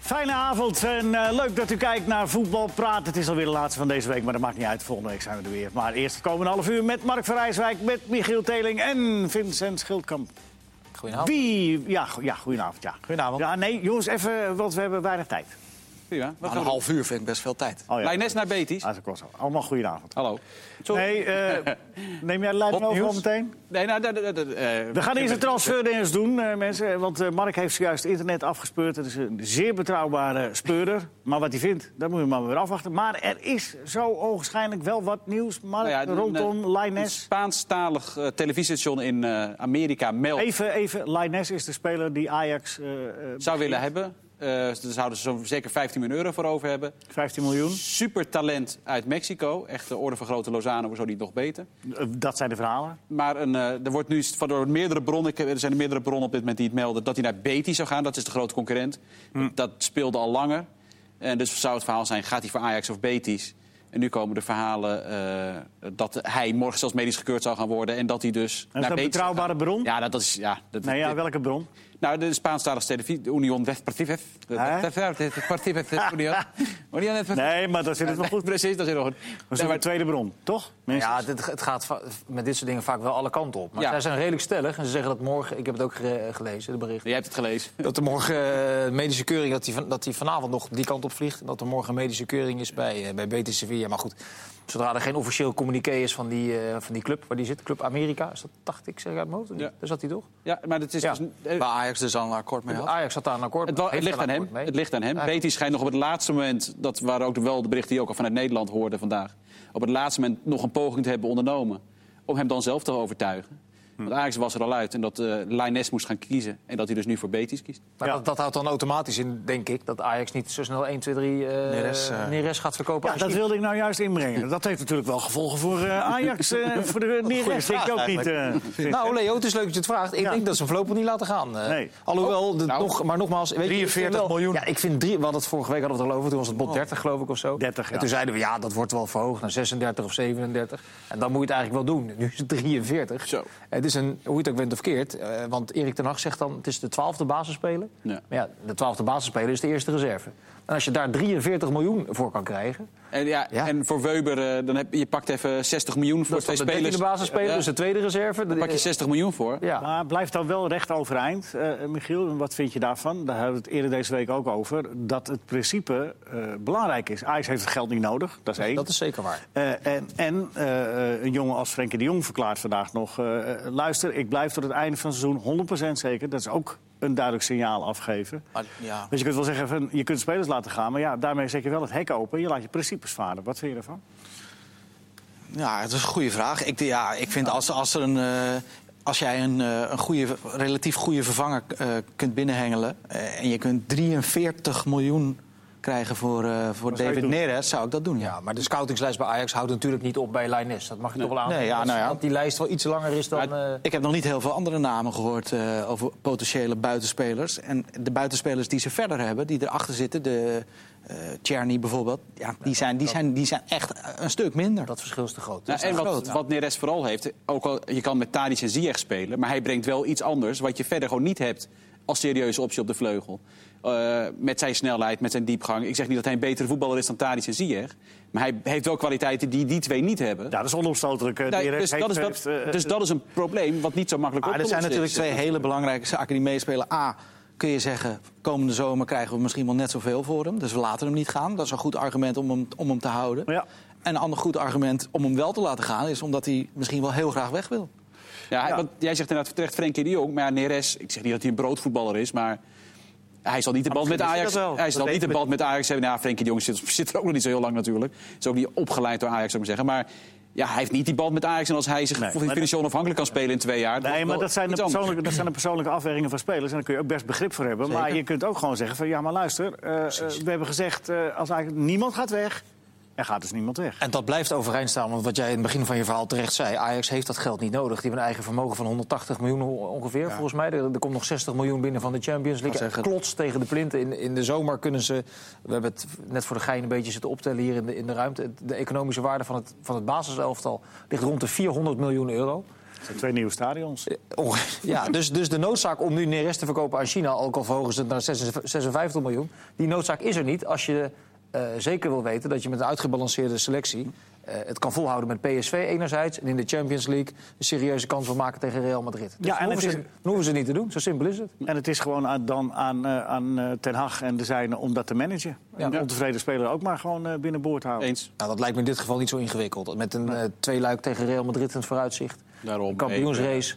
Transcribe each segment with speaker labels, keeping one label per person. Speaker 1: Fijne avond en eh, leuk dat u kijkt naar Voetbal Praat. Het is alweer de laatste van deze week, maar dat maakt niet uit. Volgende week zijn we er weer. Maar eerst het komende half uur met Mark Verrijswijk, met Michiel Teling en Vincent Schildkamp.
Speaker 2: Goedenavond.
Speaker 1: Wie? Ja, go- ja goedenavond. Ja.
Speaker 2: Goedenavond.
Speaker 1: Ja, nee, jongens, even, want we hebben weinig tijd.
Speaker 3: Prima. Wat
Speaker 2: Nou,
Speaker 3: gaan
Speaker 2: een
Speaker 3: we doen?
Speaker 2: half uur vind ik best veel tijd.
Speaker 1: Oh, ja.
Speaker 3: Lijnes naar Betis.
Speaker 1: Ah, dat is ook wel zo. Allemaal goedenavond.
Speaker 3: Hallo.
Speaker 1: Nee, eh, neem jij de leiding over al
Speaker 3: nieuws.
Speaker 1: meteen?
Speaker 3: Nee, nou, dat- dat- dat, eh,
Speaker 1: We gaan eerst een transferdings doen, eh, mensen. Want eh, Mark heeft zojuist internet afgespeurd. Het is een zeer betrouwbare speurder. Maar wat hij vindt, dat moet je maar weer afwachten. Maar er is zo onwaarschijnlijk wel wat nieuws, Mark,
Speaker 3: nou ja, een-
Speaker 1: rondom
Speaker 3: een- Een
Speaker 1: Lines.
Speaker 3: Spaanstalig eh, televisiestation in eh, Amerika meldt.
Speaker 1: Even, even, Lines is de speler die Ajax eh, eh,
Speaker 3: Zou willen hebben. Eh daar zouden ze zo zeker 15 miljoen euro voor over hebben.
Speaker 1: 15 miljoen.
Speaker 3: Supertalent uit Mexico. Echt de orde van grote Lozano, zo niet nog beter.
Speaker 1: Eh, Dat zijn de verhalen.
Speaker 3: Maar een, eh, er wordt nu van door meerdere bronnen, ik heb- er zijn meerdere bronnen op dit moment die het melden dat hij naar Betis zou gaan. Dat is de grote concurrent.
Speaker 1: Hm.
Speaker 3: Dat speelde al langer. En dus zou het verhaal zijn: gaat hij voor Ajax of Betis? En nu komen de verhalen eh, dat hij morgen zelfs medisch gekeurd zou gaan worden en dat hij dus
Speaker 1: En is
Speaker 3: naar
Speaker 1: dat een
Speaker 3: Betis. zou
Speaker 1: betrouwbare
Speaker 3: gaan.
Speaker 1: bron?
Speaker 3: Ja, nou, dat is ja. Dat,
Speaker 1: Nee, ja,
Speaker 3: dit-
Speaker 1: welke bron?
Speaker 3: nou, de Spaanstalige televisie, de Union Deportiva. De-
Speaker 1: Hè?
Speaker 3: de- de- de- Deportiva, de Union. Union Deportiva.
Speaker 1: Nee, maar dat zit het wel goed. We
Speaker 3: Precies, dat is heel goed. Nee,
Speaker 1: zoeken
Speaker 3: maar-
Speaker 1: een tweede bron, toch? Mensen?
Speaker 2: Ja, dit, het gaat va- met dit soort dingen vaak wel alle kanten op. Maar
Speaker 3: Ja.
Speaker 2: zij zijn redelijk stellig. En ze zeggen dat morgen, ik heb het ook ge- gelezen, de bericht...
Speaker 3: Jij hebt het gelezen.
Speaker 2: dat er morgen eh, medische keuring, dat die, van, dat die vanavond nog die kant op vliegt. En dat er morgen medische keuring is bij, eh bij Betis Sevilla. Maar goed, zodra er geen officieel communiqué is van die, eh, van die club waar die zit, Club Amerika, is dat dacht ik, zeg ik uit mijn hoofd? of niet?
Speaker 3: Ja.
Speaker 2: Daar zat hij toch?
Speaker 3: Ja, maar het is
Speaker 2: Ja.
Speaker 3: dus, eh,
Speaker 4: Waar Ajax dus al een akkoord mee had.
Speaker 2: Ajax had daar een akkoord
Speaker 3: Het, wa- het
Speaker 2: heeft
Speaker 3: ligt
Speaker 2: daar een
Speaker 3: aan hem.
Speaker 2: akkoord mee.
Speaker 3: Het ligt aan hem.
Speaker 2: Ja.
Speaker 3: Betis schijnt nog op het laatste moment, dat waren ook wel de berichten die je ook al vanuit Nederland hoorde vandaag, op het laatste moment nog een poging te hebben ondernomen om hem dan zelf te overtuigen.
Speaker 2: Hm.
Speaker 3: Want Ajax was er al uit en dat eh Lainez moest gaan kiezen en dat hij dus nu voor Betis kiest.
Speaker 2: Maar
Speaker 1: Ja.
Speaker 2: dat, dat houdt dan automatisch in, denk ik, dat Ajax niet zo snel 1, 2, 3 eh
Speaker 4: Neres, eh,
Speaker 2: Neres gaat verkopen.
Speaker 1: Ja,
Speaker 2: aan
Speaker 1: dat
Speaker 2: China.
Speaker 1: wilde ik nou juist inbrengen. Dat heeft natuurlijk wel gevolgen voor eh, Ajax, eh, voor de Neres. Ik
Speaker 4: vraag
Speaker 1: ook niet. eh, vind.
Speaker 2: Nou, Leo, het is leuk dat je het vraagt. Ik
Speaker 1: Ja.
Speaker 2: denk dat ze hem voorlopig niet laten gaan. Eh,
Speaker 1: Nee.
Speaker 2: Alhoewel, de-
Speaker 3: Nou,
Speaker 2: nog, maar nogmaals... Weet je, ik vind
Speaker 4: 43
Speaker 2: wel-
Speaker 4: miljoen.
Speaker 2: Ja, ik vind drie, we hadden het vorige week hadden we het al over. Toen was het bot 30, geloof ik, of zo.
Speaker 1: 30, Oh. ja.
Speaker 2: En toen zeiden we, ja, dat wordt wel verhoogd naar 36 of 37. En dan moet je het eigenlijk wel doen. Nu is het 43.
Speaker 3: Zo.
Speaker 2: Het is een, hoe je het ook bent of keert. eh, want Erik ten Hag zegt dan, het is de twaalfde basisspeler.
Speaker 3: Ja.
Speaker 2: Maar ja, de twaalfde basisspeler is de eerste reserve. En als je daar 43 miljoen voor kan krijgen...
Speaker 3: En, ja,
Speaker 2: Ja.
Speaker 3: en voor Weber, eh, dan heb, je pakt even 60 miljoen voor
Speaker 2: Dat is
Speaker 3: twee
Speaker 2: dan de
Speaker 3: spelers.
Speaker 2: dertiende basisspeler,
Speaker 3: Ja,
Speaker 2: dus de tweede reserve. Eh,
Speaker 3: dan pak je 60 miljoen voor.
Speaker 2: Ja.
Speaker 1: Maar blijft dan wel recht overeind, eh, Michiel. En Wat vind je daarvan? Daar hebben we het eerder deze week ook over. Dat het principe eh, belangrijk is. Ajax heeft het geld niet nodig, dat is één.
Speaker 2: Dat is zeker waar.
Speaker 1: Eh, en en eh, eh, een jongen als Frenkie de Jong verklaart vandaag nog... eh, eh, luister, ik blijf tot het einde van het seizoen 100% zeker. Dat is ook een duidelijk signaal afgeven.
Speaker 4: Maar, ja.
Speaker 1: Dus je kunt wel zeggen, van, je kunt spelers laten gaan... maar ja, daarmee zet je wel het hek open. Je laat je principes varen. Wat vind je ervan?
Speaker 4: ja, dat is een goede vraag. Ik, ja, ik vind als, als, er een, eh, als jij een, eh, een goede, relatief goede vervanger eh, kunt binnenhengelen... eh, en je kunt 43 miljoen krijgen voor, eh, voor
Speaker 1: Wat zou je
Speaker 4: David
Speaker 1: doen?
Speaker 4: Neres, zou ik dat doen, ja.
Speaker 2: Ja, maar de scoutingslijst bij Ajax houdt natuurlijk niet op bij Lainez. Dat mag je toch wel aan.
Speaker 4: Nee, ja, nou ja.
Speaker 2: Dat die lijst wel iets langer is dan... eh,
Speaker 4: Ik heb nog niet heel veel andere namen gehoord eh, over potentiële buitenspelers. En de buitenspelers die ze verder hebben, die erachter zitten, de eh Tjerni bijvoorbeeld, ja, die, zijn, die, zijn, die zijn echt een stuk minder.
Speaker 2: dat verschil is te groot. Dus-
Speaker 3: Nou, en
Speaker 4: echt
Speaker 3: wat,
Speaker 4: groot, ja.
Speaker 3: wat Neres vooral heeft, ook al, je kan met Tadic en Ziyech spelen... maar hij brengt wel iets anders wat je verder gewoon niet hebt als serieuze optie op de vleugel. Eh, met zijn snelheid, met zijn diepgang. Ik zeg niet dat hij een betere voetballer is dan Tadic en Ziyech... maar hij heeft wel kwaliteiten die die twee niet hebben.
Speaker 1: Ja, dat is onomstotelijk. eh,
Speaker 3: Nou,
Speaker 1: die
Speaker 3: dus,
Speaker 1: rest
Speaker 3: dat is
Speaker 1: heeft,
Speaker 3: dat,
Speaker 1: eh,
Speaker 3: dus dat is een probleem wat niet zo makkelijk op
Speaker 4: Maar
Speaker 3: te
Speaker 4: er zijn
Speaker 3: lossen
Speaker 4: natuurlijk
Speaker 3: is.
Speaker 4: twee hele belangrijke zaken die meespelen. A, kun je zeggen, komende zomer krijgen we misschien wel net zoveel voor hem. Dus we laten hem niet gaan. Dat is een goed argument om hem, om hem te houden.
Speaker 1: Ja.
Speaker 4: En een ander goed argument om hem wel te laten gaan... is omdat hij misschien wel heel graag weg wil.
Speaker 3: Ja, hij-
Speaker 1: Ja.
Speaker 3: Want jij zegt inderdaad terecht Frenkie de Jong, maar ja, Neres... ik zeg niet dat hij een broodvoetballer is, maar... Hij zal niet de band met
Speaker 4: misschien
Speaker 3: Ajax,
Speaker 4: is hij dat wel.
Speaker 3: hij zal
Speaker 4: Dat
Speaker 3: niet de
Speaker 4: weten
Speaker 3: band met Ajax hebben. Nou, Frenkie de Jong zit, zit er ook nog niet zo heel lang natuurlijk. Is ook niet opgeleid door Ajax, zou ik maar zeggen. Maar ja, hij heeft niet die band met Ajax. En als hij zich
Speaker 1: Nee, maar
Speaker 3: financieel onafhankelijk kan spelen in twee jaar... dan-
Speaker 1: Nee, maar dat zijn, de
Speaker 3: iets anders.
Speaker 1: persoonlijke, dat zijn de persoonlijke afwegingen van spelers. En daar kun je ook best begrip voor hebben. Maar je kunt ook gewoon zeggen van... ja, maar luister, eh, eh, we hebben gezegd... eh, als eigenlijk niemand gaat weg, er gaat dus niemand weg.
Speaker 2: En dat blijft overeind staan, want wat jij in het begin van je verhaal terecht zei... Ajax heeft dat geld niet nodig. Die hebben een eigen vermogen van 180 miljoen ho- ongeveer, volgens mij. Er, er komt nog 60 miljoen binnen van de Champions League.
Speaker 4: zeggen-
Speaker 2: Klots tegen de plinten. In, in de zomer kunnen ze... We hebben het net voor de gein een beetje zitten optellen hier in de, in de ruimte. Het- De economische waarde van het, van het basiselftal ligt rond de 400 miljoen euro.
Speaker 1: zijn twee nieuwe stadions.
Speaker 2: Oh, ja, dus, dus de noodzaak om nu Neres te verkopen aan China, ook al verhogen ze het naar 56 56 miljoen, die noodzaak is er niet als je eh, zeker wil weten dat je met een uitgebalanceerde selectie eh, het kan volhouden met PSV enerzijds en in de Champions League een serieuze kans wil maken tegen Real Madrid. Dus
Speaker 1: Ja, en
Speaker 2: dan, hoeven
Speaker 1: het
Speaker 2: ze,
Speaker 1: is-
Speaker 2: dan hoeven ze niet te doen, zo simpel is het.
Speaker 1: En het is gewoon aan, dan aan, eh, aan eh, Ten Hag en de zijnen om dat te managen.
Speaker 2: Ja.
Speaker 1: En de ontevreden speler ook maar gewoon eh, binnenboord houden.
Speaker 3: Eens.
Speaker 2: Nou, dat lijkt me in dit geval niet zo ingewikkeld. Met een eh tweeluik tegen Real Madrid in het vooruitzicht.
Speaker 3: Daarom,
Speaker 2: Een kampioensrace.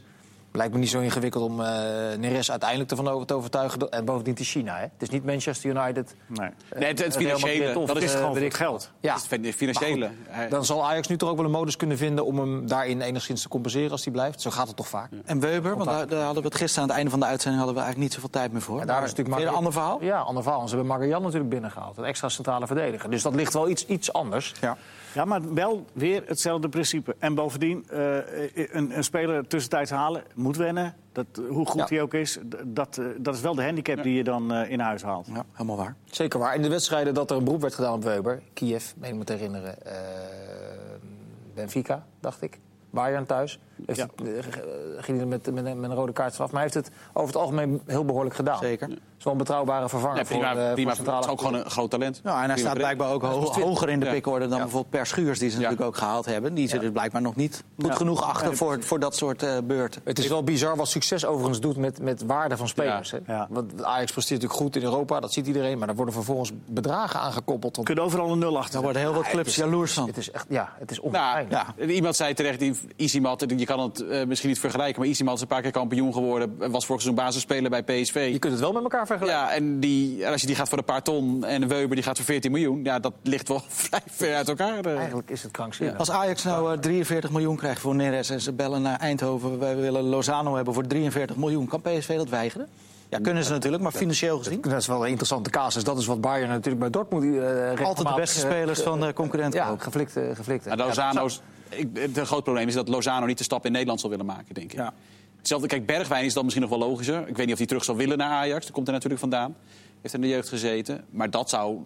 Speaker 2: Lijkt me niet zo ingewikkeld om eh Neres uiteindelijk ervan over te overtuigen. dat- En bovendien te China. Hè? Het is niet Manchester United.
Speaker 1: Nee.
Speaker 3: Nee, het, het
Speaker 2: Real Madrid
Speaker 3: financiële.
Speaker 2: of,
Speaker 3: Dat is
Speaker 2: eh,
Speaker 3: gewoon
Speaker 2: weet
Speaker 1: Dit
Speaker 2: ik-
Speaker 1: geld.
Speaker 2: Ja.
Speaker 3: het is het financiële.
Speaker 2: Maar
Speaker 3: Hij-
Speaker 2: goed, dan zal Ajax nu toch ook wel een modus kunnen vinden om hem daarin enigszins te compenseren als hij blijft. Zo gaat het toch vaak.
Speaker 4: En Weber, want daar, daar hadden we het gisteren aan het einde van de uitzending hadden we eigenlijk niet zoveel tijd meer voor.
Speaker 2: En daar is
Speaker 4: Maar
Speaker 2: natuurlijk
Speaker 4: weer een ander verhaal.
Speaker 2: Ja, ander verhaal. En Ze hebben Marian natuurlijk binnengehaald. Een extra centrale verdediger. Dus dat ligt wel iets, iets anders.
Speaker 4: Ja.
Speaker 1: Ja, maar wel weer hetzelfde principe. En bovendien, eh, een, een speler tussentijds halen moet wennen. Dat, hoe goed
Speaker 2: Ja.
Speaker 1: hij ook is, d- dat, eh, dat is wel de handicap die je dan eh, in huis haalt.
Speaker 4: ja, helemaal waar.
Speaker 2: Zeker waar. In de wedstrijden dat er een beroep werd gedaan op Weber, Kiev, meen ik me te herinneren, eh, Benfica, dacht ik. Bayern thuis. Heeft
Speaker 1: Ja.
Speaker 2: het, eh, ge- eh, ging hij er met, met, een- met een rode kaart vanaf. Maar hij heeft het over het algemeen heel behoorlijk gedaan.
Speaker 4: Zeker.
Speaker 2: Het is wel een betrouwbare vervanger
Speaker 3: Ja, prima,
Speaker 2: voor, eh,
Speaker 3: prima.
Speaker 2: voor centrale...
Speaker 3: Het is ook gewoon een groot talent.
Speaker 4: Nou, en hij
Speaker 3: Prima
Speaker 4: staat
Speaker 3: verdediger.
Speaker 4: blijkbaar ook ho- hoger in de pickorde dan bijvoorbeeld Per Schuurs, die ze natuurlijk ook gehaald hebben. Die zitten er dus blijkbaar nog niet goed genoeg achter voor, voor dat soort eh, beurten.
Speaker 2: Het is wel bizar wat succes overigens doet met, met waarde van spelers.
Speaker 3: Ja.
Speaker 2: Hè?
Speaker 1: Ja.
Speaker 2: Want Ajax presteert natuurlijk goed in Europa, dat ziet iedereen. Maar daar worden vervolgens bedragen aangekoppeld.
Speaker 1: Je
Speaker 2: Om...
Speaker 1: kunt overal een nul
Speaker 4: Daar
Speaker 1: achter.
Speaker 4: worden heel wat clubs jaloers van.
Speaker 2: Het is echt, ja, het is
Speaker 3: Nou,
Speaker 2: onwaarschijnlijk.
Speaker 3: ja. Iemand zei terecht, die Isimat, je kan het eh, misschien niet vergelijken... maar Isimat is een paar keer kampioen geworden. Was vorig seizoen basisspeler bij PSV.
Speaker 2: Je kunt het wel met elkaar vergelijken.
Speaker 3: Ja, en die, en als je die gaat voor een paar ton en Weber die gaat voor 14 miljoen... Ja, dat ligt wel vrij ver uit elkaar. eh.
Speaker 2: Eigenlijk is het krankzinnig.
Speaker 4: Als Ajax nou eh, 43 miljoen krijgt voor Neres en ze bellen naar Eindhoven... wij willen Lozano hebben voor 43 miljoen, kan PSV dat weigeren? Ja, kunnen ze natuurlijk, maar financieel gezien...
Speaker 2: Dat is wel een interessante casus. Dat is wat Bayern natuurlijk bij Dortmund... eh,
Speaker 4: Altijd
Speaker 2: regelmatig,
Speaker 4: de beste
Speaker 2: eh,
Speaker 4: spelers van de concurrent
Speaker 2: Ja,
Speaker 4: ook.
Speaker 2: geflikt. eh, geflikt
Speaker 3: Maar Lozano's, ik, het groot probleem is dat Lozano niet de stap in Nederland zal willen maken, denk ik.
Speaker 4: Ja.
Speaker 3: Hetzelfde, kijk, Bergwijn is dan misschien nog wel logischer. Ik weet niet of hij terug zal willen naar Ajax. Dat komt er natuurlijk vandaan. Heeft in de jeugd gezeten. Maar dat zou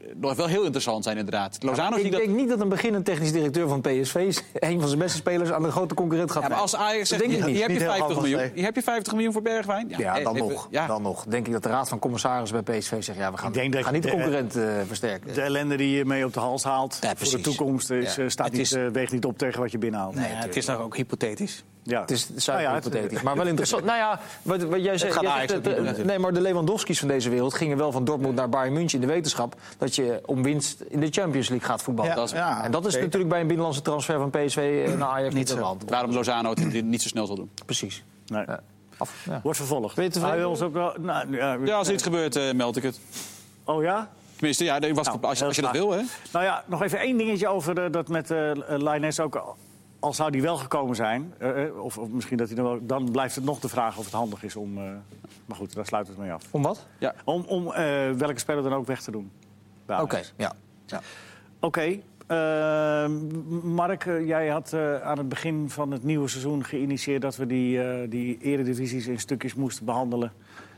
Speaker 3: eh, nog wel heel interessant zijn, inderdaad. Lozano
Speaker 2: ik
Speaker 3: die dat...
Speaker 2: denk niet dat een beginnend technisch directeur van PSV... een van zijn beste spelers aan een grote concurrent gaat
Speaker 3: Ja, maar als Ajax zegt,
Speaker 2: denk ik
Speaker 3: hier,
Speaker 2: niet.
Speaker 3: hier heb je
Speaker 4: Niet heel
Speaker 3: 50
Speaker 4: handig,
Speaker 3: miljoen,
Speaker 4: nee.
Speaker 3: hier heb je 50 miljoen voor Bergwijn.
Speaker 2: Ja,
Speaker 3: eh,
Speaker 2: dan,
Speaker 3: even-
Speaker 2: nog,
Speaker 3: Ja.
Speaker 2: dan nog. Denk ik dat de raad van commissarissen bij PSV zegt... ja, we gaan,
Speaker 1: Ik denk dat
Speaker 2: gaan
Speaker 1: je
Speaker 2: niet de
Speaker 1: de-
Speaker 2: concurrent eh, versterken.
Speaker 1: De ellende die je mee op de hals haalt voor de
Speaker 4: precies.
Speaker 1: toekomst is,
Speaker 2: Ja.
Speaker 1: eh, staat
Speaker 4: Het
Speaker 1: niet,
Speaker 4: is-
Speaker 1: eh, weegt niet op tegen wat je binnenhaalt.
Speaker 4: Nee, het is nog ook hypothetisch.
Speaker 1: Ja.
Speaker 2: Het is
Speaker 1: Nou
Speaker 2: zuiver
Speaker 1: ja, het-
Speaker 2: hypothetisch, maar wel interessant. nou ja, wat, wat jij zegt...
Speaker 4: gaat
Speaker 2: jij
Speaker 4: Ajax
Speaker 2: zegt
Speaker 4: ook
Speaker 2: dat,
Speaker 4: niet doen,
Speaker 2: eh,
Speaker 4: natuurlijk.
Speaker 2: nee, maar de Lewandowski's van deze wereld gingen wel van Dortmund naar Bayern München... in de wetenschap dat je om winst in de Champions League gaat voetballen.
Speaker 4: Ja,
Speaker 2: Dat is-
Speaker 4: ja,
Speaker 2: en dat is
Speaker 4: zeker.
Speaker 2: natuurlijk bij een binnenlandse transfer van PSV eh, naar Ajax niet
Speaker 4: zo.
Speaker 2: aan de hand.
Speaker 3: Waarom Lozano het dit niet zo snel zal doen.
Speaker 2: Precies.
Speaker 1: Nee.
Speaker 2: Ja. Af, ja.
Speaker 1: Wordt vervolgd.
Speaker 2: Ben je tevreden?
Speaker 1: Hij wil ons ook wel... nou, ja,
Speaker 3: Ja, als er iets gebeurt, eh, meld ik het.
Speaker 1: Oh ja?
Speaker 3: Tenminste, ja, nee, was het- als, je- als je dat wil, hè.
Speaker 1: Nou ja, nog even één dingetje over eh, dat met eh Linus ook. al- Al zou die wel gekomen zijn, eh, eh, of, of misschien dat hij dan wel... Dan blijft het nog de vraag of het handig is om... eh, maar goed, daar sluit het mee af.
Speaker 2: Om wat?
Speaker 3: Ja.
Speaker 1: Om, om eh, welke speler dan ook weg te doen. bij
Speaker 2: Oké,
Speaker 1: Ajax.
Speaker 2: ja.
Speaker 1: Oké. eh, Mark, eh, jij had eh, aan het begin van het nieuwe seizoen geïnitieerd... dat we die, eh, die eredivisies in stukjes moesten behandelen.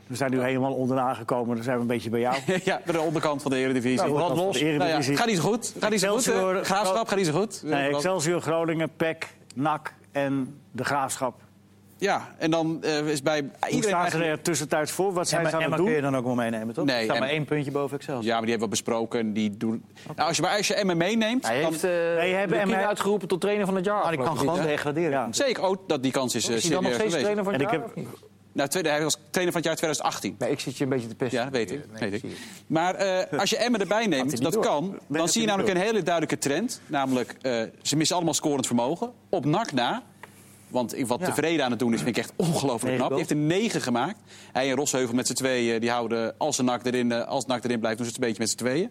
Speaker 1: We zijn nu helemaal onderaan gekomen, dan zijn we een beetje bij jou.
Speaker 3: ja, bij de onderkant van de Eredivisie.
Speaker 1: Nou, brand los.
Speaker 3: Nou ja, gaat niet zo goed. Gaat niet zo goed.
Speaker 1: Excelsior-
Speaker 3: eh. Graafschap gaat niet zo goed.
Speaker 1: Nee, Excelsior, Groningen, E PEC, NAC en de Graafschap.
Speaker 3: Ja, en dan eh, is bij
Speaker 1: Hoe staan
Speaker 3: iedereen...
Speaker 1: ze
Speaker 3: eigenlijk-
Speaker 1: er tussentijds voor? Wat zijn
Speaker 4: Emma,
Speaker 1: ze aan
Speaker 4: Emma
Speaker 1: het
Speaker 4: kun je
Speaker 1: doen?
Speaker 4: dan ook wel meenemen, toch?
Speaker 3: Nee,
Speaker 4: Er staat maar
Speaker 3: Emma-
Speaker 4: één puntje boven Excel.
Speaker 3: Ja, maar die hebben we besproken. Die doen... nou, als je maar als je Emmen meeneemt...
Speaker 2: Hij
Speaker 3: dan-
Speaker 2: heeft eh
Speaker 1: Wij hebben
Speaker 2: Lukien
Speaker 1: hem-
Speaker 2: uitgeroepen tot trainer van het jaar.
Speaker 4: Maar die kan
Speaker 2: afgelopen
Speaker 4: gewoon
Speaker 2: weekend.
Speaker 4: degraderen.
Speaker 1: Ja.
Speaker 3: Zeker ook dat die kans is, eh
Speaker 2: Is hij dan nog
Speaker 3: serieus
Speaker 2: steeds trainer
Speaker 3: geweest.
Speaker 2: van het
Speaker 1: En ik
Speaker 2: jaar?
Speaker 1: heb-
Speaker 2: of niet?
Speaker 3: Nou, tweede, hij was trainer van het jaar 2018.
Speaker 2: Nee, ik zit je een beetje te pesten.
Speaker 3: Ja, dat weet ik.
Speaker 2: Nee,
Speaker 3: weet ik.
Speaker 2: zie je.
Speaker 3: Maar eh, als je Emmen erbij
Speaker 2: hij
Speaker 3: neemt,
Speaker 2: niet
Speaker 3: dat
Speaker 2: door.
Speaker 3: kan. Dan
Speaker 1: dat
Speaker 3: zie je
Speaker 1: hij niet
Speaker 3: namelijk een hele duidelijke trend. Namelijk, eh, ze missen allemaal scorend vermogen. Op nak na. Want ik- wat
Speaker 4: Ja.
Speaker 3: tevreden aan het doen is, vind ik echt ongelooflijk
Speaker 4: Negen
Speaker 3: knap. Hij
Speaker 4: goals.
Speaker 3: heeft er negen gemaakt. Hij en Rosheuvel met z'n tweeën, eh, die houden als een nak erin, eh, als nak erin blijft, doen ze het een beetje met z'n tweeën.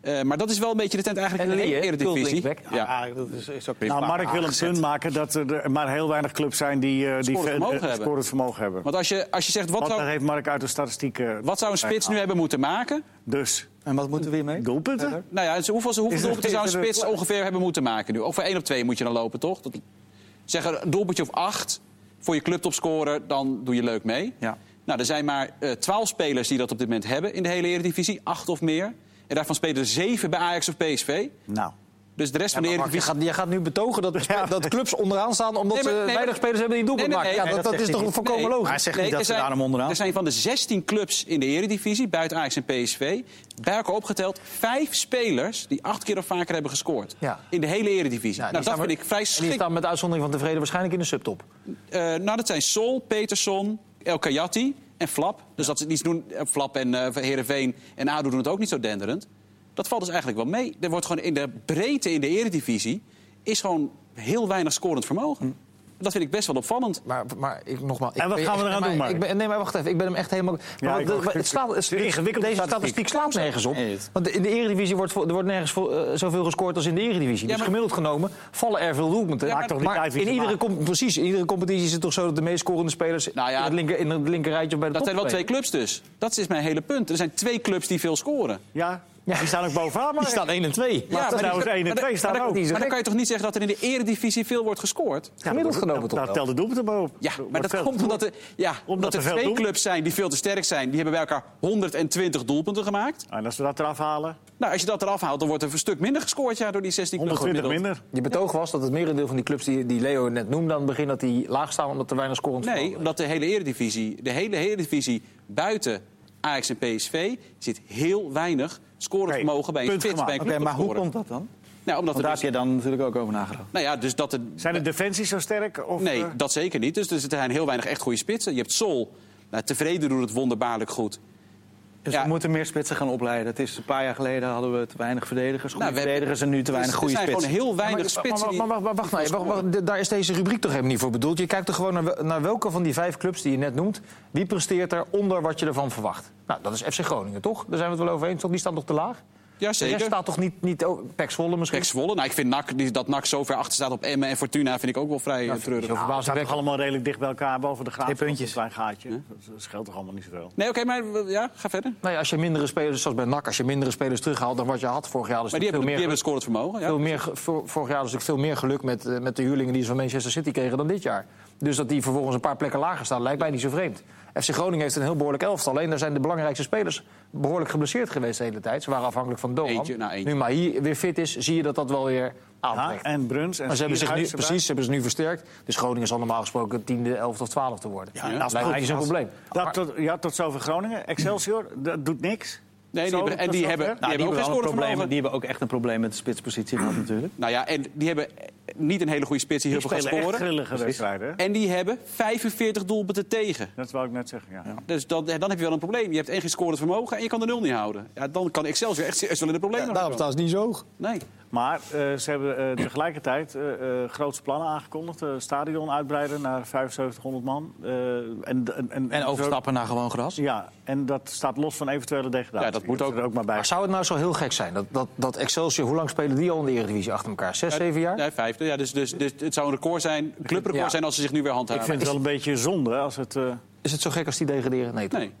Speaker 3: Eh, maar dat is wel een beetje de tent eigenlijk
Speaker 2: En
Speaker 3: in de
Speaker 2: Lee, hè?
Speaker 3: Eredivisie.
Speaker 2: Kult linksback.
Speaker 3: Ja.
Speaker 4: Ah, dat is, is ook
Speaker 1: Nou, Mark wil een punt maken dat er eh, maar heel weinig clubs zijn die, eh, die
Speaker 3: Scorend
Speaker 1: ver-
Speaker 3: vermogen
Speaker 1: eh,
Speaker 3: hebben.
Speaker 1: scorend vermogen hebben.
Speaker 3: Want als je, als je zegt, wat
Speaker 1: Want dat
Speaker 3: zou,
Speaker 1: heeft Mark uit de statistiek. eh,
Speaker 3: wat zou een spits nu hebben moeten maken?
Speaker 1: Dus
Speaker 4: En wat moeten we hiermee?
Speaker 1: doelpunten?
Speaker 3: Nou ja, dus hoeveel, hoeveel
Speaker 1: Is-
Speaker 3: doelpunten zou een
Speaker 1: is er-
Speaker 3: spits ongeveer hebben moeten maken nu? Over 1 op 2 moet je dan lopen, toch? Dat, zeg een doelpuntje of 8 voor je clubtop scoren, dan doe je leuk mee.
Speaker 4: Ja.
Speaker 3: Nou, er zijn maar eh 12 spelers die dat op dit moment hebben in de hele Eredivisie. 8 of meer. En daarvan spelen er 7 bij Ajax of PSV.
Speaker 1: Nou,
Speaker 3: Dus de rest van de
Speaker 2: maar Mark, je,
Speaker 3: Eredivisie...
Speaker 2: gaat, je gaat nu betogen dat, spe- dat clubs onderaan staan omdat
Speaker 3: Nee, maar-
Speaker 2: ze
Speaker 3: nee,
Speaker 2: weinig
Speaker 3: maar-
Speaker 2: spelers hebben die een doelpunt
Speaker 3: Nee, nee,
Speaker 2: maken.
Speaker 3: nee,
Speaker 2: ja,
Speaker 3: nee,
Speaker 2: dat,
Speaker 1: dat
Speaker 2: dat is
Speaker 1: zegt
Speaker 2: toch
Speaker 1: hij
Speaker 2: volkomen
Speaker 3: Nee,
Speaker 2: logisch.
Speaker 1: Maar hij zegt niet
Speaker 3: er
Speaker 1: dat ze
Speaker 3: zijn-
Speaker 1: daarom onderaan
Speaker 3: Er zijn van de 16 clubs in de Eredivisie, buiten Ajax en PSV, bij elkaar opgeteld vijf spelers die acht keer of vaker hebben gescoord.
Speaker 2: Ja.
Speaker 3: In de hele Eredivisie.
Speaker 2: Ja, die
Speaker 3: nou, dat
Speaker 2: staan
Speaker 3: vind
Speaker 2: met-
Speaker 3: ik vrij
Speaker 2: En die
Speaker 3: schrik.
Speaker 2: staan met uitzondering van tevreden waarschijnlijk in de subtop.
Speaker 3: Eh, nou, dat zijn Sol, Peterson, El Kayati en Flap. Dus dat ze het niet doen. eh, Flap en eh Heerenveen en Ado doen het ook niet zo denderend. Dat valt dus eigenlijk wel mee. Er wordt gewoon in de breedte in de Eredivisie is gewoon heel weinig scorend vermogen. Dat vind ik best wel opvallend.
Speaker 2: Maar, maar ik, nogmaals... ik
Speaker 1: En wat
Speaker 2: ben-
Speaker 1: gaan we
Speaker 2: ik-
Speaker 1: eraan
Speaker 2: maar
Speaker 1: doen, Mark?
Speaker 2: Ik ben, nee, maar wacht even. Ik ben hem echt helemaal... maar
Speaker 1: ik
Speaker 2: de-
Speaker 1: ook.
Speaker 2: maar het slaat, het,
Speaker 1: Het is een ingewikkelde
Speaker 2: deze
Speaker 1: statistiek.
Speaker 2: statistiek slaat nergens op.
Speaker 4: Nee, het-
Speaker 2: Want in de Eredivisie wordt, voor- er wordt nergens voor, eh, zoveel gescoord als in de Eredivisie.
Speaker 3: Ja,
Speaker 2: dus
Speaker 3: maar-
Speaker 2: gemiddeld genomen vallen er veel doelpunten.
Speaker 3: Ja, maar- Maakt
Speaker 1: toch niet
Speaker 2: Maar
Speaker 1: uit wie
Speaker 2: in
Speaker 1: ze
Speaker 2: iedere,
Speaker 1: maken.
Speaker 2: com- precies, in iedere competitie is het toch zo dat de meest scorende spelers...
Speaker 3: Nou ja,
Speaker 2: in, het linker, in het linkerrijtje bij de
Speaker 3: Dat
Speaker 2: top
Speaker 3: zijn wel twee clubs dus. Dat is mijn hele punt. Er zijn twee clubs die veel scoren.
Speaker 1: Ja, die staan ook bovenaan, maar...
Speaker 2: Die staan 1 en 2.
Speaker 1: Maar
Speaker 3: Ja, maar
Speaker 1: trouwens,
Speaker 3: die-
Speaker 1: 1 en
Speaker 3: maar
Speaker 1: 2 staan
Speaker 2: maar
Speaker 1: ook.
Speaker 2: die is
Speaker 3: Maar dan kan je toch niet zeggen dat er in de eredivisie veel wordt gescoord?
Speaker 1: Ja,
Speaker 2: gemiddeld
Speaker 1: dat-
Speaker 2: genomen toch
Speaker 1: Daar
Speaker 2: wel.
Speaker 1: telt de doelpunt maar op.
Speaker 3: Ja, maar dat
Speaker 1: veel-
Speaker 3: komt omdat er, ja, omdat er
Speaker 1: er veel
Speaker 3: twee
Speaker 1: doen.
Speaker 3: clubs zijn die veel te sterk zijn. Die hebben bij elkaar 120 doelpunten gemaakt.
Speaker 1: En als we dat eraf halen,
Speaker 3: Nou, als je dat eraf haalt, dan wordt er een stuk minder gescoord ja, door die 16 clubs.
Speaker 1: 120
Speaker 3: gemiddeld.
Speaker 1: minder.
Speaker 2: Je betoog was dat het merendeel van die clubs die, die Leo net noemde aan het begin... dat die laag staan omdat er weinig scorend vermogen
Speaker 3: Nee,
Speaker 2: is.
Speaker 3: omdat de hele eredivisie, de hele eredivisie buiten Ajax en PSV zit heel weinig scorenvermogen bij een
Speaker 1: punt
Speaker 3: fit bij
Speaker 1: gemaakt.
Speaker 3: een
Speaker 4: Oké,
Speaker 3: club
Speaker 4: maar hoe
Speaker 3: topscorer.
Speaker 4: komt dat dan?
Speaker 3: Nou, omdat
Speaker 4: Want
Speaker 3: er
Speaker 4: daar
Speaker 3: dus-
Speaker 4: heb je dan natuurlijk ook over nagedacht.
Speaker 3: nou ja, dus dat er,
Speaker 1: Zijn de defensies zo sterk? Of,
Speaker 3: Nee,
Speaker 1: eh,
Speaker 3: dat zeker niet. Dus er zijn heel weinig echt goede spitsen. Je hebt Sol. Nou, tevreden doet het wonderbaarlijk goed. Nou,
Speaker 4: Dus
Speaker 3: Ja.
Speaker 4: we moeten meer spitsen gaan opleiden. Het is een paar jaar geleden hadden we te weinig verdedigers, goede
Speaker 3: Nou, we hebben-
Speaker 4: verdedigers en nu te weinig
Speaker 3: Dus
Speaker 4: goede
Speaker 3: er zijn
Speaker 4: spitsen. Nou,
Speaker 3: gewoon heel weinig spitsen.
Speaker 2: Maar,
Speaker 3: die-
Speaker 2: maar, maar, maar wacht nou, even, wacht, wacht, d- daar is deze rubriek toch helemaal niet voor bedoeld. Je kijkt toch gewoon naar, wel- naar welke van die vijf clubs die je net noemt... wie presteert er onder wat je ervan verwacht? Nou, dat is FC Groningen, toch? Daar zijn we het wel over eens, toch? Die staan toch te laag?
Speaker 3: Ja,
Speaker 2: De rest
Speaker 3: zeker.
Speaker 2: staat toch niet... niet oh, Pek Zwolle misschien?
Speaker 3: Pek Zwolle. Nou, ik vind NAC, die, dat NAC zo ver achter staat op Emmen en Fortuna vind ik ook wel vrij eh,
Speaker 2: Nou, vind ik
Speaker 3: treurig.
Speaker 2: niet zo
Speaker 1: Nou, we staan toch
Speaker 2: verbazingwekkend.
Speaker 1: allemaal redelijk dicht bij elkaar, boven de graaf.
Speaker 4: Twee puntjes.
Speaker 1: Een klein gaatje. Dat scheelt toch allemaal niet zoveel.
Speaker 3: Nee, oké, maar eh, ja, ga verder.
Speaker 2: Nou ja, als je mindere spelers, zoals bij NAC, als je mindere spelers terughaalt dan wat je had vorig jaar... Dus
Speaker 3: Maar die hebben,
Speaker 2: veel
Speaker 3: die
Speaker 2: meer
Speaker 3: hebben het scorend vermogen. Ja.
Speaker 2: Veel meer, ge- vor- vorig jaar was natuurlijk veel meer geluk met, eh, met de huurlingen die ze van Manchester City kregen dan dit jaar. Dus dat die vervolgens een paar plekken lager staan, lijkt mij niet zo vreemd. FC Groningen heeft een heel behoorlijk elftal. Alleen daar zijn de belangrijkste spelers behoorlijk geblesseerd geweest de hele tijd. Ze waren afhankelijk van Doan.
Speaker 3: Eentje, nou, eentje.
Speaker 2: Nu Mahi weer fit is, zie je dat dat wel weer aantrekt.
Speaker 1: Ja, en Bruns en
Speaker 2: maar ze hebben zich nu,
Speaker 1: Schierhuis erbij.
Speaker 2: precies, ze hebben ze nu versterkt. Dus Groningen zal normaal gesproken tiende, elfde of twaalfde worden. Ja,
Speaker 1: Nou,
Speaker 2: dat lijkt mij niet zo'n
Speaker 1: als-
Speaker 2: probleem.
Speaker 1: Dat tot, ja, tot zover Groningen. Excelsior, dat doet niks.
Speaker 3: Nee, die
Speaker 1: Zo,
Speaker 3: hebben- en
Speaker 1: tot
Speaker 3: die
Speaker 1: zover.
Speaker 3: hebben-
Speaker 4: Nou,
Speaker 3: Die hebben ook geen
Speaker 4: die, hebben wel een probleem,
Speaker 3: scorevermogen.
Speaker 4: die hebben ook echt een probleem met de spitspositie gehad natuurlijk.
Speaker 3: Nou ja, en die hebben eh, niet een hele goede spits die heel
Speaker 1: Die
Speaker 3: veel gaat
Speaker 1: spelen echt
Speaker 3: scoren.
Speaker 1: grillige wedstrijden. hè?
Speaker 3: En die hebben 45 doelpunten tegen.
Speaker 1: Dat wou ik net zeggen, ja.
Speaker 3: Dus dan, dan heb je wel een probleem. Je hebt één geen scorend vermogen en je kan de nul niet houden. Ja, dan kan Excelsior echt serieus wel in de problemen
Speaker 2: Daarom
Speaker 3: komen.
Speaker 2: staan ze niet zo hoog.
Speaker 3: Nee.
Speaker 1: Maar eh, ze hebben eh, tegelijkertijd eh, eh, grootste plannen aangekondigd. Eh, stadion uitbreiden naar 7500 man. Eh, en, en,
Speaker 4: En overstappen naar gewoon gras.
Speaker 1: Ja, en dat staat los van eventuele degradatie.
Speaker 3: Ja, dat moet ook.
Speaker 1: er ook maar bij.
Speaker 2: Maar zou het nou zo heel gek zijn dat, dat, dat Excelsior... Hoe lang spelen die al in de Eredivisie achter elkaar? Zes, zeven jaar?
Speaker 3: Ja, vijfde. Ja, dus, dus, dus het zou een record zijn, een clubrecord
Speaker 2: Ja.
Speaker 3: zijn als ze zich nu weer
Speaker 1: Ik
Speaker 3: handhaven.
Speaker 1: vind het wel een beetje zonde als het... eh,
Speaker 2: Is het zo gek als die degraderen? Nee, toch?
Speaker 3: Nee,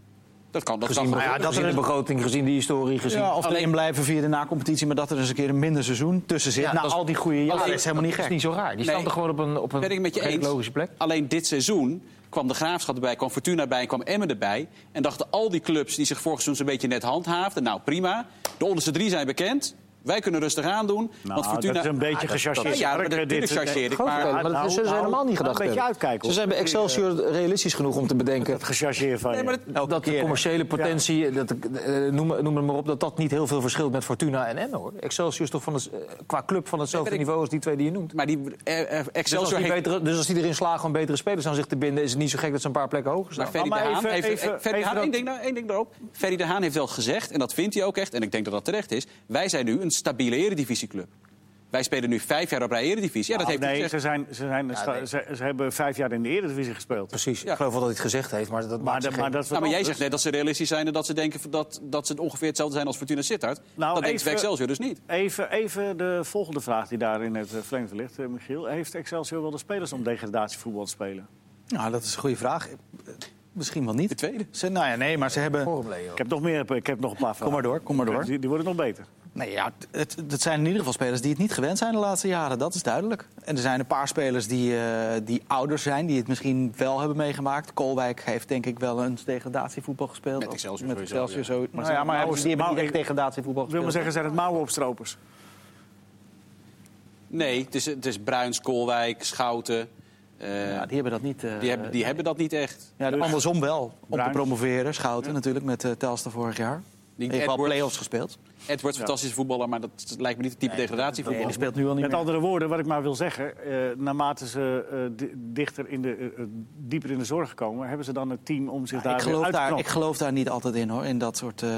Speaker 3: dat kan. Dat
Speaker 2: Gezien,
Speaker 3: kan
Speaker 2: maar ja, dat
Speaker 3: gebeuren.
Speaker 2: gezien de begroting, gezien de historie, gezien...
Speaker 4: Ja, of alleen blijven via de nacompetitie, maar dat er eens een keer een minder seizoen tussen zit.
Speaker 2: Ja,
Speaker 4: Na
Speaker 2: dat is-
Speaker 4: al die goede jaren, dat is helemaal niet
Speaker 2: Dat
Speaker 4: gek.
Speaker 2: is niet zo raar. Die
Speaker 3: Nee.
Speaker 2: staan toch gewoon op een, op
Speaker 3: Ben ik
Speaker 2: een
Speaker 3: met je
Speaker 2: gek
Speaker 3: eens.
Speaker 2: logische plek?
Speaker 3: Alleen dit seizoen kwam de Graafschap erbij, kwam Fortuna erbij en kwam Emmen erbij. En dachten al die clubs die zich vorig seizoen een beetje net handhaafden... nou, prima, de onderste drie zijn bekend. Wij kunnen rustig aandoen.
Speaker 1: nou, dat is een beetje gechargeerd.
Speaker 3: Ja, maar
Speaker 1: werk,
Speaker 3: dat-
Speaker 1: eh,
Speaker 3: natuurlijk
Speaker 1: dit.
Speaker 3: chargeer ik.
Speaker 2: Geloof ik wel,
Speaker 3: Maar,
Speaker 2: maar dat
Speaker 1: nou,
Speaker 2: is zullen ze
Speaker 1: nou,
Speaker 2: helemaal niet
Speaker 1: nou,
Speaker 2: gedacht
Speaker 1: een beetje
Speaker 2: hebben.
Speaker 1: uitkijken,
Speaker 2: Ze
Speaker 1: hoor.
Speaker 2: zijn bij Excelsior realistisch genoeg om te bedenken...
Speaker 1: Gechargeerd van
Speaker 3: Nee,
Speaker 1: je.
Speaker 3: maar dat-
Speaker 2: Dat de commerciële potentie, dat, eh, noem, noem het maar op, dat dat niet heel veel verschilt met Fortuna en Emmen. Hoor. Excelsior is toch van het, eh, qua club van hetzelfde
Speaker 3: ben ik-
Speaker 2: niveau als die twee die je noemt.
Speaker 3: maar die eh, eh,
Speaker 2: Dus als,
Speaker 3: Excelsior
Speaker 2: die
Speaker 3: heeft...
Speaker 2: betere, dus als die erin slagen om betere spelers aan zich te binden... is het niet zo gek dat ze een paar plekken hoger staan.
Speaker 3: Maar Ferry de
Speaker 1: Maar
Speaker 3: Haan
Speaker 1: even-
Speaker 3: heeft...
Speaker 1: even-
Speaker 3: eh, Ferry
Speaker 1: even
Speaker 3: de Haan,
Speaker 1: dat-
Speaker 3: één ding, daar- één ding daarop. Ferry de Haan heeft wel gezegd, en dat vindt hij ook echt... en ik denk dat dat terecht is... wij zijn nu een stabiele eredivisieclub. Wij spelen nu vijf jaar op rij eredivisie. Ja, dat
Speaker 1: Nou,
Speaker 3: heeft hij
Speaker 1: nee,
Speaker 3: gezegd.
Speaker 1: ze, zijn, ze, zijn, sta-
Speaker 2: nee.
Speaker 1: Ze, ze hebben vijf jaar in de Eredivisie gespeeld.
Speaker 2: Precies,
Speaker 3: Ja.
Speaker 2: ik geloof wel dat hij het gezegd heeft, maar dat
Speaker 1: Maar,
Speaker 2: maakt
Speaker 1: dat-
Speaker 2: zich
Speaker 1: maar
Speaker 2: geen-
Speaker 1: dat is wat
Speaker 3: Nou, maar jij
Speaker 1: anders.
Speaker 3: zegt net dat ze realistisch zijn en dat ze denken dat, dat ze ongeveer hetzelfde zijn als Fortuna Sittard.
Speaker 1: Nou,
Speaker 3: dat denkt
Speaker 1: even-
Speaker 3: Excelsior dus niet.
Speaker 1: Even, even de volgende vraag die daar in het eh, verlengde ligt, eh, Michiel. Heeft Excelsior wel de spelers om degradatievoetbal te spelen?
Speaker 4: Nou, dat is een goede vraag. Eh, Misschien wel niet.
Speaker 3: De tweede.
Speaker 4: Ze, nou ja, nee, maar ze hebben...
Speaker 2: Forum Leo.
Speaker 1: Ik heb nog, meer, eh, ik heb nog een paar vragen.
Speaker 4: Kom maar door, kom maar door.
Speaker 1: Die, die worden nog beter.
Speaker 4: Nee, ja, het, het zijn in ieder geval spelers die het niet gewend zijn de laatste jaren. Dat is duidelijk. En er zijn een paar spelers die, eh, die ouder zijn, die het misschien wel hebben meegemaakt. Koolwijk heeft denk ik wel een degradatievoetbal gespeeld.
Speaker 3: Met
Speaker 4: Of
Speaker 3: Excelsior
Speaker 4: Met
Speaker 3: sowieso,
Speaker 4: Excelsior zo. Maar, nou ja, maar
Speaker 1: Mauwers-
Speaker 4: hebben- die hebben niet
Speaker 1: Mauwers-
Speaker 4: echt degradatievoetbal
Speaker 1: Ik wil
Speaker 4: gespeeld.
Speaker 1: maar zeggen, zijn het mouwenopstropers?
Speaker 3: Nee, het is, het is Bruins, Koolwijk, Schouten. eh,
Speaker 4: Ja, die hebben dat niet. eh,
Speaker 3: die hebben, die hebben dat niet echt.
Speaker 4: ja,
Speaker 1: dus-
Speaker 4: Andersom wel. Om te
Speaker 1: Bruins.
Speaker 4: promoveren. Schouten natuurlijk met eh Telstar vorig jaar. Die heeft wel
Speaker 3: Edwards.
Speaker 4: play-offs gespeeld.
Speaker 3: Edwards, fantastische voetballer, maar dat lijkt me niet het type
Speaker 4: En
Speaker 3: degradatievoetbal.
Speaker 4: die speelt nu al niet
Speaker 1: Met
Speaker 4: meer.
Speaker 1: andere woorden, wat ik maar wil zeggen, eh, naarmate ze eh, di- dichter in de, eh, eh, dieper in de zorg komen, hebben ze dan het team om zich daar
Speaker 4: Ik
Speaker 1: weer
Speaker 4: geloof
Speaker 1: uit te
Speaker 4: daar, ik
Speaker 1: knopen.
Speaker 4: geloof daar niet altijd in hoor. In dat soort. eh,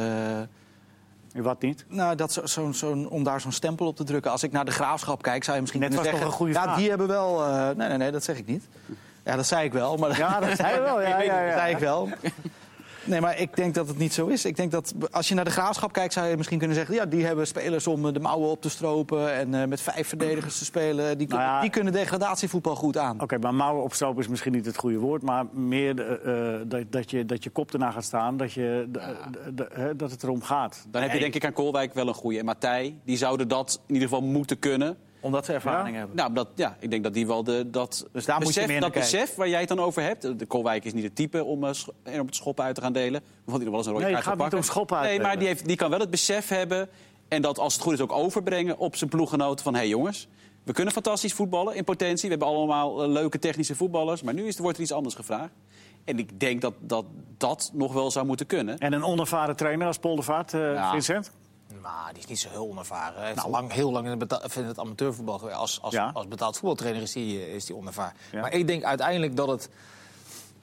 Speaker 1: Wat niet?
Speaker 4: Nou, dat zo, zo'n- zo'n- om daar zo'n stempel op te drukken. Als ik naar de graafschap kijk, zou je misschien
Speaker 1: Net
Speaker 4: kunnen
Speaker 1: was toch
Speaker 4: zeggen...
Speaker 1: een goede
Speaker 4: ja,
Speaker 1: vraag."
Speaker 4: die hebben wel... eh, nee, nee, nee, dat zeg ik niet. Ja, dat zei ik wel. Maar
Speaker 1: Ja, dat zei je wel, ja,
Speaker 4: Ik weet niet,
Speaker 1: ja, ja.
Speaker 4: Dat zei ik wel. Nee, maar ik denk dat het niet zo is. Ik denk dat als je naar de graafschap kijkt, zou je misschien kunnen zeggen... ja, die hebben spelers om eh, de mouwen op te stropen en eh, met vijf verdedigers te spelen. Die, kun-
Speaker 1: Nou ja.
Speaker 4: die kunnen degradatievoetbal goed aan.
Speaker 1: Oké, maar mouwen opstropen is misschien niet het goede woord. Maar meer eh, eh, dat, dat, je, dat je kop erna gaat staan. Dat, je, d- d- d- hè, dat het erom gaat.
Speaker 3: Dan heb je denk ik aan Koolwijk wel een goede. En Matthij, die zouden dat in ieder geval moeten kunnen.
Speaker 4: Omdat ze ervaring
Speaker 1: Ja.
Speaker 4: hebben.
Speaker 3: Nou, dat, ja, ik denk dat die wel de, dat,
Speaker 4: Dus daar moet je
Speaker 3: besef,
Speaker 4: meer naar
Speaker 3: dat
Speaker 4: kijken.
Speaker 3: besef waar jij het dan over hebt. De Kolwijk is niet het type om eh, scho- er op het schoppen uit te gaan delen. Want die er wel eens een rode
Speaker 1: Nee,
Speaker 3: kaart
Speaker 1: het
Speaker 3: voor
Speaker 1: gaat niet
Speaker 3: pakken.
Speaker 1: om schoppen uit
Speaker 3: Nee, maar
Speaker 1: delen.
Speaker 3: die, heeft, die kan wel het besef hebben. En dat als het goed is ook overbrengen op zijn ploeggenoten. Van hé hey jongens, we kunnen fantastisch voetballen in potentie. We hebben allemaal eh, leuke technische voetballers. Maar nu is, wordt er iets anders gevraagd. En ik denk dat dat, dat nog wel zou moeten kunnen.
Speaker 1: En een onervaren trainer als Poldervaart, eh,
Speaker 3: Ja.
Speaker 1: Vincent?
Speaker 2: Maar Nou, die is niet zo heel onervaren. Hij heeft lang, heel lang in het, beta- of in het amateurvoetbal gewerkt. Als, als,
Speaker 1: Nou. Ja.
Speaker 2: als betaald voetbaltrainer is die, eh, is die onervaren.
Speaker 1: Ja.
Speaker 2: Maar ik denk uiteindelijk dat het,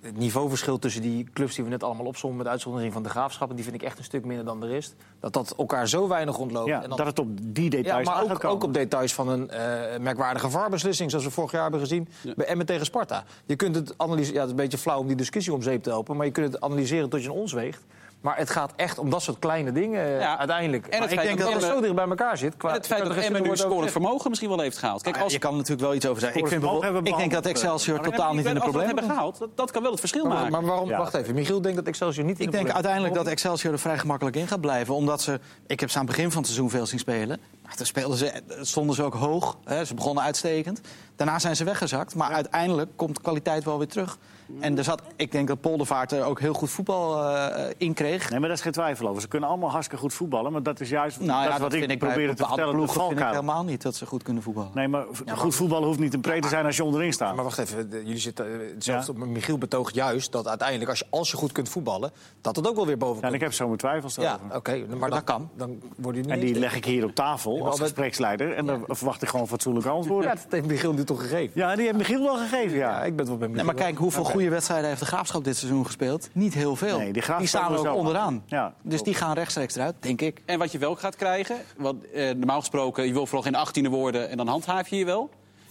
Speaker 2: het niveauverschil tussen die clubs die we net allemaal opzommen... met uitzondering van de graafschappen, die vind ik echt een stuk minder dan de rest... dat dat elkaar zo weinig ontloopt.
Speaker 1: Ja,
Speaker 2: en dan-
Speaker 1: dat het op die
Speaker 2: ja,
Speaker 1: details
Speaker 2: maar
Speaker 1: aan
Speaker 2: ook,
Speaker 1: gaat komen.
Speaker 2: ook op details van een eh, merkwaardige VAR-beslissing... zoals we vorig jaar hebben gezien bij Emmen tegen Sparta. Je kunt het analyseren... Ja, het is een beetje flauw om die discussie om zeep te helpen... maar je kunt het analyseren tot je een ons weegt. Maar het gaat echt om dat soort kleine dingen eh,
Speaker 3: Ja.
Speaker 2: uiteindelijk.
Speaker 3: En het
Speaker 2: Maar ik
Speaker 3: feit
Speaker 2: denk
Speaker 3: dat
Speaker 2: dat het
Speaker 3: Emmen-
Speaker 2: zo dicht bij elkaar zit. Qua,
Speaker 3: En het feit dat
Speaker 2: qua de
Speaker 3: Emmen nu
Speaker 2: wordt ook
Speaker 3: scorend
Speaker 2: gezegd.
Speaker 3: vermogen misschien wel heeft gehaald. Kijk,
Speaker 4: Nou ja,
Speaker 3: als,
Speaker 4: je kan er natuurlijk wel iets over zeggen. Ik, vind
Speaker 1: Scoort ook
Speaker 4: bijvoorbeeld-
Speaker 1: hebben eh,
Speaker 4: ik denk dat
Speaker 1: behalve-
Speaker 4: Excelsior
Speaker 3: Maar
Speaker 4: totaal
Speaker 3: hebben
Speaker 4: niet
Speaker 3: die-
Speaker 4: in de
Speaker 3: als we dat
Speaker 4: problemen
Speaker 3: hebben gehaald, dat, dat kan wel het verschil maken.
Speaker 2: Maar waarom,
Speaker 1: Ja.
Speaker 2: wacht even, Michiel denkt dat Excelsior niet in
Speaker 4: Ik
Speaker 2: de
Speaker 4: denk
Speaker 2: problemen-
Speaker 4: uiteindelijk dat Excelsior er vrij gemakkelijk in gaat blijven. Omdat ze, ik heb ze aan het begin van het seizoen veel zien spelen. Maar toen speelden ze, eh, stonden ze ook hoog. Hè, ze begonnen uitstekend. Daarna zijn ze weggezakt. Maar uiteindelijk komt de kwaliteit wel weer terug. En er zat, ik denk dat Poldervaart er ook heel goed voetbal eh, eh, in kreeg.
Speaker 1: Nee, maar daar is geen twijfel over. Ze kunnen allemaal hartstikke goed voetballen. Maar dat is juist
Speaker 4: Nou
Speaker 1: dat
Speaker 4: ja,
Speaker 1: is wat ik,
Speaker 4: vind bij
Speaker 1: probeer te
Speaker 4: bepaalde
Speaker 1: vertellen. De
Speaker 4: ploegen vind ik
Speaker 1: valkuil.
Speaker 4: helemaal niet dat ze goed kunnen voetballen.
Speaker 1: Nee, maar v- goed voetballen hoeft niet een pre te zijn als je onderin staat.
Speaker 2: Maar wacht even, de- jullie zitten eh, hetzelfde. Maar Michiel betoogt juist dat uiteindelijk, als je, als je goed kunt voetballen... dat dat ook wel weer boven
Speaker 1: Ja, en
Speaker 2: komt.
Speaker 1: ik heb zo mijn twijfels
Speaker 2: Ja,
Speaker 1: over.
Speaker 2: oké. maar,
Speaker 4: dat kan.
Speaker 2: Dan worden jullie
Speaker 1: En
Speaker 2: niet
Speaker 1: die
Speaker 2: eens-
Speaker 1: leg ik hier op tafel als
Speaker 2: maar-
Speaker 1: gespreksleider. En dan verwacht ik gewoon fatsoenlijke
Speaker 2: Ja,
Speaker 1: antwoorden.
Speaker 2: dat heeft Michiel nu toch gegeven.
Speaker 1: Ja, die heeft Michiel wel gegeven, ja.
Speaker 2: Ja, ik ben het wel bij
Speaker 4: Nee, maar kijk, hoeveel goede wedstrijden heeft de Graafschap dit seizoen gespeeld? Niet heel veel.
Speaker 1: Nee, die
Speaker 4: die,
Speaker 1: Graafschap
Speaker 4: staan er
Speaker 1: is
Speaker 4: ook
Speaker 1: wel-
Speaker 4: onderaan.
Speaker 1: Ja,
Speaker 4: dus die gaan rechtstreeks eruit, denk ik.
Speaker 3: En wat je wel gaat krijgen, want eh, normaal gesproken, je wil vooral geen 18e worden en dan handhaaf je je wel.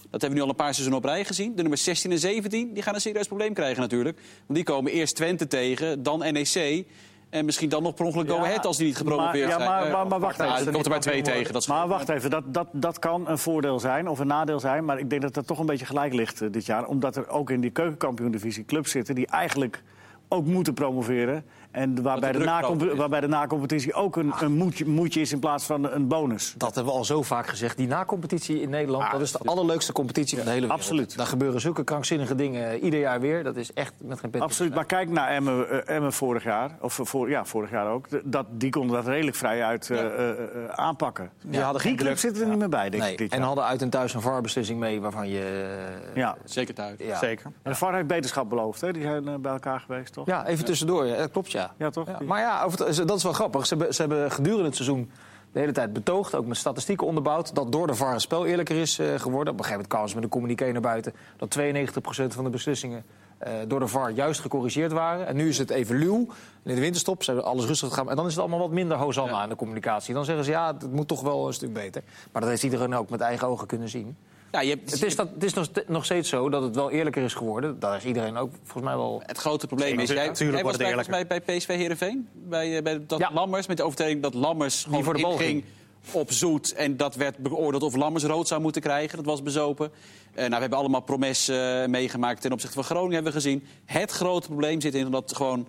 Speaker 3: Dat hebben we nu al een paar seizoenen op rij gezien. De nummers 16 en 17, die gaan een serieus probleem krijgen natuurlijk. Want die komen eerst Twente tegen, dan NEC. En misschien dan nog per ongeluk Go
Speaker 1: Ja,
Speaker 3: Ahead als die niet gepromoveerd
Speaker 1: maar- ja,
Speaker 3: zijn.
Speaker 1: maar-
Speaker 3: Eh,
Speaker 1: maar- maar wacht
Speaker 3: nou,
Speaker 1: even.
Speaker 3: die komt er bij twee tegen. Dat is
Speaker 1: Maar wacht even, dat, dat, dat kan een voordeel zijn of een nadeel zijn. Maar ik denk dat dat toch een beetje gelijk ligt eh, dit jaar. Omdat er ook in die keukenkampioen-divisie clubs zitten... die eigenlijk ook moeten promoveren. En waarbij de,
Speaker 3: druk
Speaker 1: nacompe-
Speaker 3: groter is.
Speaker 1: waarbij de nacompetitie ook een, een moetje, moetje is in plaats van een bonus.
Speaker 2: Dat hebben we al zo vaak gezegd. Die nacompetitie in Nederland, dat is de allerleukste competitie van de hele wereld.
Speaker 1: absoluut.
Speaker 2: Daar gebeuren zulke krankzinnige dingen ieder jaar weer. Dat is echt met geen pet. op.
Speaker 1: Absoluut, maar kijk naar Emmen, eh, Emmen vorig jaar. Of eh, voor, ja, vorig jaar ook. D- Dat, die konden dat redelijk vrij uit eh, eh, eh, aanpakken.
Speaker 4: Die hadden geen
Speaker 1: die club
Speaker 4: druk.
Speaker 1: zitten er niet meer bij, denk
Speaker 2: Nee.
Speaker 1: ik, dit
Speaker 2: En
Speaker 1: jaar.
Speaker 2: hadden uit en thuis een VAR-beslissing mee waarvan je... eh,
Speaker 1: Ja.
Speaker 3: Zeker thuis.
Speaker 2: ja.
Speaker 4: Zeker.
Speaker 1: En de VAR heeft beterschap beloofd, hè? Die zijn eh, bij elkaar geweest, toch?
Speaker 2: Ja, even tussendoor. Ja, dat klopt, ja.
Speaker 1: Ja, toch?
Speaker 2: Maar ja, over het- ze- dat is wel grappig. Ze hebben, ze hebben gedurende het seizoen de hele tijd betoogd, ook met statistieken onderbouwd... dat door de VAR het spel eerlijker is eh, geworden. Op een gegeven moment kwamen ze met een communiqué naar buiten... dat 92% van de beslissingen eh, door de VAR juist gecorrigeerd waren. En nu is het even luw. En in de winterstop ze hebben alles rustig gaan. En dan is het allemaal wat minder hosanna aan de communicatie. Dan zeggen ze, ja, het moet toch wel een stuk beter. Maar dat heeft iedereen ook met eigen ogen kunnen zien.
Speaker 3: Ja, je hebt,
Speaker 2: Het is, dat, het is nog, st- nog steeds zo dat het wel eerlijker is geworden. Daar is iedereen ook volgens mij wel...
Speaker 3: Het grote probleem is, jij,
Speaker 4: Tuurlijk
Speaker 3: jij was
Speaker 4: wordt
Speaker 3: bij,
Speaker 4: het
Speaker 3: volgens mij bij PSV Heerenveen. Bij, eh, bij dat
Speaker 2: Ja.
Speaker 3: Lammers, met de overtreding dat Lammers gewoon
Speaker 2: voor de bal
Speaker 3: inging op zoet. En dat werd beoordeeld of Lammers rood zou moeten krijgen. Dat was bezopen. Eh, nou, we hebben allemaal promes eh, meegemaakt ten opzichte van Groningen hebben we gezien. Het grote probleem zit in dat gewoon...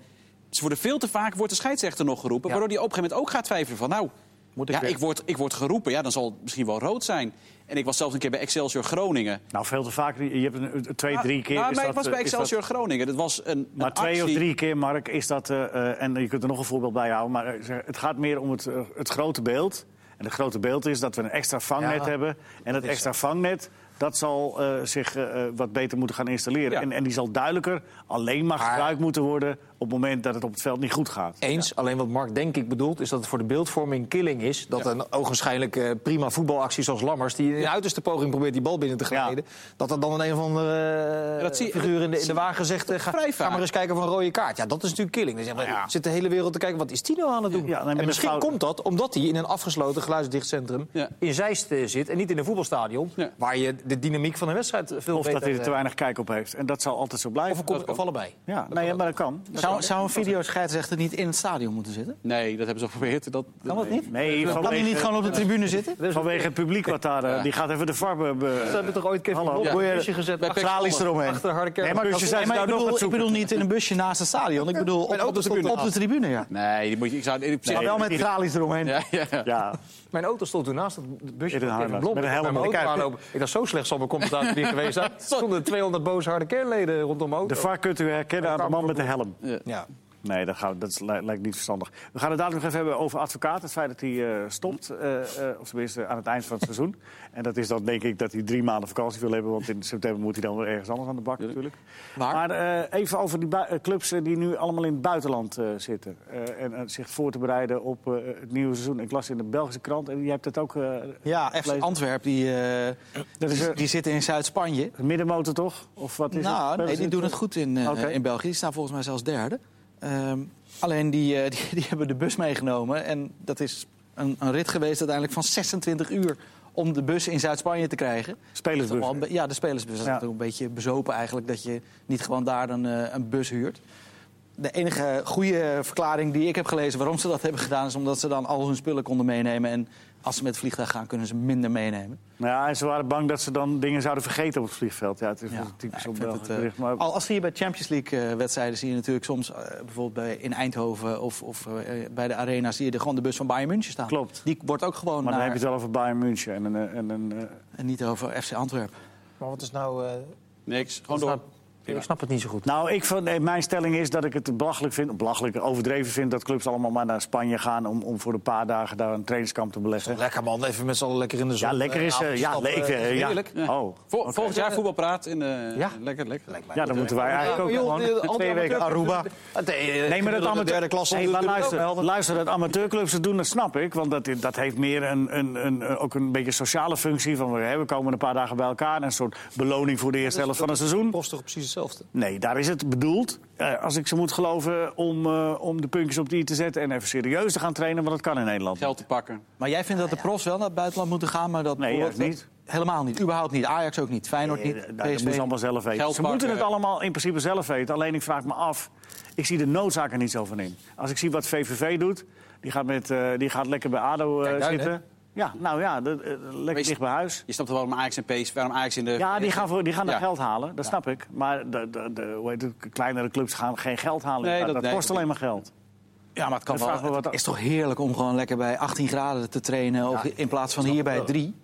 Speaker 3: Ze worden veel te vaak, wordt de scheidsrechter nog
Speaker 2: Ja.
Speaker 3: geroepen. Waardoor die op een gegeven moment ook gaat twijfelen van... nou,
Speaker 4: Moet ik
Speaker 3: ja,
Speaker 4: weer?
Speaker 3: ik, word, ik word geroepen, ja, dan zal het misschien wel rood zijn. En ik was zelfs een keer bij Excelsior Groningen.
Speaker 1: Nou, veel te vaak. Je hebt een, een- twee, drie keer.
Speaker 3: Nou,
Speaker 1: is
Speaker 3: maar
Speaker 1: dat,
Speaker 3: ik was bij
Speaker 1: eh, is
Speaker 3: Excelsior Groningen. Dat was een, een
Speaker 1: dat- maar twee of
Speaker 3: actie.
Speaker 1: drie keer, Mark, is dat. eh, eh, en je kunt er nog een voorbeeld bij houden. Maar eh, zeg, het gaat meer om het, eh, het grote beeld. En het grote beeld is dat we een extra vangnet
Speaker 2: Ja.
Speaker 1: hebben. En dat extra vangnet, dat zal eh, zich eh, eh, wat beter moeten gaan installeren.
Speaker 2: Ja.
Speaker 1: En, en die zal duidelijker alleen maar gebruikt moeten worden... op het moment dat het op het veld niet goed gaat.
Speaker 2: Eens, alleen wat Mark denk ik bedoelt... is dat het voor de beeldvorming killing is... dat een ogenschijnlijk eh, prima voetbalactie zoals Lammers... die in de uiterste poging probeert die bal binnen te
Speaker 1: Ja.
Speaker 2: glijden... dat er dan een of andere eh,
Speaker 3: dat zie-
Speaker 2: figuur in de, in de wagen zegt... eh, ga,
Speaker 3: vrij
Speaker 2: ga maar
Speaker 3: vaak.
Speaker 2: eens kijken van een rode kaart. Ja, dat is natuurlijk killing. Dan zeg maar,
Speaker 1: Ja.
Speaker 2: zit de hele wereld te kijken, wat is die nou aan het doen?
Speaker 1: Ja, dan heb je
Speaker 2: en
Speaker 1: een
Speaker 2: misschien
Speaker 1: fout.
Speaker 2: komt dat omdat hij in een afgesloten geluidsdicht centrum...
Speaker 3: Ja.
Speaker 2: in Zeist eh, zit en niet in een voetbalstadion...
Speaker 3: Ja.
Speaker 2: waar je de dynamiek van een wedstrijd veel
Speaker 1: Of
Speaker 2: beter...
Speaker 1: dat hij er te
Speaker 2: eh,
Speaker 1: weinig kijk op heeft. En dat zal altijd zo
Speaker 2: of,
Speaker 1: blijven.
Speaker 2: een kom- of allebei.
Speaker 1: ja, nee, ja, maar dat kan.
Speaker 4: Zou, zou een videoscheidsrechter niet in het stadion moeten zitten?
Speaker 3: Nee, dat hebben ze al geprobeerd. Dat,
Speaker 4: Kan dat niet?
Speaker 1: Nee,
Speaker 4: Kan die
Speaker 1: vanwege,
Speaker 4: niet gewoon op de tribune zitten?
Speaker 1: vanwege Dus het publiek wat daar... eh, Die gaat even de VAR... be-
Speaker 2: Ze hebben toch ooit Kevin
Speaker 1: Hallo.
Speaker 2: Knoll op
Speaker 1: Ja.
Speaker 2: een busje gezet...
Speaker 3: Bij
Speaker 2: achter-
Speaker 3: Pek
Speaker 4: Tralies eromheen.
Speaker 2: Achter harde kern.
Speaker 1: Nee, maar
Speaker 4: Nee,
Speaker 1: busjes zijn ze
Speaker 4: maar
Speaker 1: daar
Speaker 4: ik,
Speaker 1: nog
Speaker 4: bedoel,
Speaker 1: wat
Speaker 4: ik
Speaker 1: zoeken.
Speaker 4: bedoel niet in een busje naast het stadion. Ik bedoel op,
Speaker 2: Nee,
Speaker 4: op, de, tribune. Op de tribune, ja.
Speaker 3: Nee, die moet je, ik zou, ik,
Speaker 4: Maar
Speaker 1: Nee.
Speaker 4: wel met tralies eromheen.
Speaker 3: ja, ja.
Speaker 1: Ja,
Speaker 2: Mijn auto stond toen naast het busje.
Speaker 1: In
Speaker 2: van
Speaker 1: Haarlem,
Speaker 2: Kevin Blom.
Speaker 1: met een
Speaker 2: Ik
Speaker 1: helm in
Speaker 2: ben
Speaker 1: de
Speaker 2: mijn auto
Speaker 1: kuip.
Speaker 2: gaan lopen. Ik dacht, zo slecht zal mijn commentator niet geweest zijn. Er stonden 200 boze harde kernleden rondom mijn auto.
Speaker 1: de VAR kunt u herkennen aan de man met de helm.
Speaker 2: Ja.
Speaker 1: Nee, dat, gaan we- dat is- li- lijkt niet verstandig. We gaan het dadelijk nog even hebben over advocaat. Het feit dat hij eh, stopt, eh, eh, of tenminste aan het eind van het seizoen. En dat is dan denk ik dat hij drie maanden vakantie wil hebben... want in september moet hij dan weer ergens anders aan de bak natuurlijk.
Speaker 2: Ah.
Speaker 4: Waar?
Speaker 1: Maar eh, even over die bui- eh, clubs eh, die nu allemaal in het buitenland eh, zitten... eh, en eh, zich voor te bereiden op eh, het nieuwe seizoen. Ik las in de Belgische krant, en jij hebt het ook... eh,
Speaker 4: Ja, FC
Speaker 1: gelezen.
Speaker 4: Antwerpen, die, eh,
Speaker 1: Dat is,
Speaker 4: die,
Speaker 1: eh,
Speaker 4: die zitten in Zuid-Spanje.
Speaker 1: Middenmotor toch? Of wat is het?
Speaker 4: Nou, nee, die doen het goed in, eh,
Speaker 1: Oké.
Speaker 4: in België. Die staan volgens mij zelfs derde. Ehm, alleen die, eh, die, die hebben de bus meegenomen. En dat is een, een rit geweest uiteindelijk van 26 uur om de bus in Zuid-Spanje te krijgen.
Speaker 1: Spelersbus.
Speaker 4: Dat is toch wel een be- Ja, de spelersbus. Dat is
Speaker 1: Ja.
Speaker 4: natuurlijk een beetje bezopen eigenlijk... dat je niet gewoon daar dan, eh, een bus huurt. De enige goede verklaring die ik heb gelezen waarom ze dat hebben gedaan... is omdat ze dan al hun spullen konden meenemen. En als ze met het vliegtuig gaan, kunnen ze minder meenemen.
Speaker 1: Nou ja, en ze waren bang dat ze dan dingen zouden vergeten op het vliegveld. Ja, het is
Speaker 4: Ja,
Speaker 1: wel typisch
Speaker 4: ja,
Speaker 1: op
Speaker 4: ik vind
Speaker 1: Belgisch
Speaker 4: het, eh,
Speaker 1: bericht, maar-
Speaker 4: Al als hier bij Champions League-wedstrijden zie je natuurlijk soms, eh, bijvoorbeeld bij, in Eindhoven of, of eh, bij de Arena, zie je de, gewoon de bus van Bayern München staan.
Speaker 1: Klopt.
Speaker 4: Die wordt ook gewoon
Speaker 1: Maar dan
Speaker 4: naar,
Speaker 1: heb je het wel over Bayern München en een... eh, En een eh,
Speaker 4: en niet over FC Antwerpen.
Speaker 2: Maar wat is nou... eh,
Speaker 3: Niks. Gewoon door.
Speaker 2: Ik snap het niet zo goed.
Speaker 1: Nou, ik van, nee, mijn stelling is dat ik het belachelijk vind, belachelijk overdreven vind... dat clubs allemaal maar naar Spanje gaan om, om voor een paar dagen daar een trainingskamp te beleggen.
Speaker 2: Lekker man, even met z'n allen lekker in de zon.
Speaker 1: Ja, lekker is... eh,
Speaker 2: eh,
Speaker 1: ja,
Speaker 2: avondstap,
Speaker 1: lekker.
Speaker 2: eh,
Speaker 1: ja.
Speaker 2: heerlijk.
Speaker 1: Oh.
Speaker 3: Vol- Volgend jaar voetbalpraat. In, eh,
Speaker 2: Ja.
Speaker 3: Lekker, lekker.
Speaker 1: Ja, dan moeten wij eigenlijk ook
Speaker 4: eh,
Speaker 1: gewoon twee weken Aruba.
Speaker 2: Nee,
Speaker 1: Nee, maar dat
Speaker 2: de
Speaker 1: amateur...
Speaker 2: derde klasse.
Speaker 1: Hey, maar luister, luister, dat amateurclubs het doen, dat snap ik. Want dat, dat heeft meer een, een, een, ook een beetje sociale functie. Van, we- hè, we komen een paar dagen bij elkaar. En een soort beloning voor de
Speaker 2: Dus
Speaker 1: eerste helft van het seizoen.
Speaker 2: kost toch precies hetzelfde?
Speaker 1: Nee, daar is het bedoeld, eh, als ik ze moet geloven, om, eh, om de puntjes op de i te zetten en even serieus te gaan trainen, want dat kan in Nederland.
Speaker 3: Geld te pakken.
Speaker 4: Maar jij vindt dat de profs wel naar het buitenland moeten gaan, maar dat
Speaker 1: Nee, juist
Speaker 4: dat-
Speaker 1: niet.
Speaker 4: Helemaal niet. Überhaupt niet. Ajax ook niet. Feyenoord
Speaker 1: Eh,
Speaker 4: niet.
Speaker 1: dat dat moeten
Speaker 4: PSV.
Speaker 1: ze allemaal zelf weten.
Speaker 3: Geld
Speaker 1: ze
Speaker 3: pakken,
Speaker 1: moeten het
Speaker 3: eh.
Speaker 1: allemaal in principe zelf weten. Alleen ik vraag me af, ik zie de noodzaak er niet zo van in. Als ik zie wat VVV doet, die gaat, met, eh, die gaat lekker bij ADO eh,
Speaker 2: Kijk, daar,
Speaker 1: zitten. Ja, nou ja, dat, eh, lekker
Speaker 3: Wees-
Speaker 1: dicht bij huis.
Speaker 3: Je snapt wel waarom Ajax en PSV, waarom Ajax in de...
Speaker 1: Ja, die gaan, voor, die gaan dat
Speaker 3: Eh, Ja.
Speaker 1: geld halen, dat snap ik. Maar de, de, de- hoe heet het, kleinere clubs gaan geen geld halen.
Speaker 3: Nee,
Speaker 1: dat
Speaker 3: dat- nee,
Speaker 1: kost
Speaker 3: dat-
Speaker 1: alleen maar geld.
Speaker 4: Ja, maar het kan
Speaker 1: Dat
Speaker 4: wel.
Speaker 1: vraagt me wat
Speaker 4: het
Speaker 1: af.
Speaker 4: is toch heerlijk om gewoon lekker bij 18 graden te trainen. of in plaats van hier bij 3.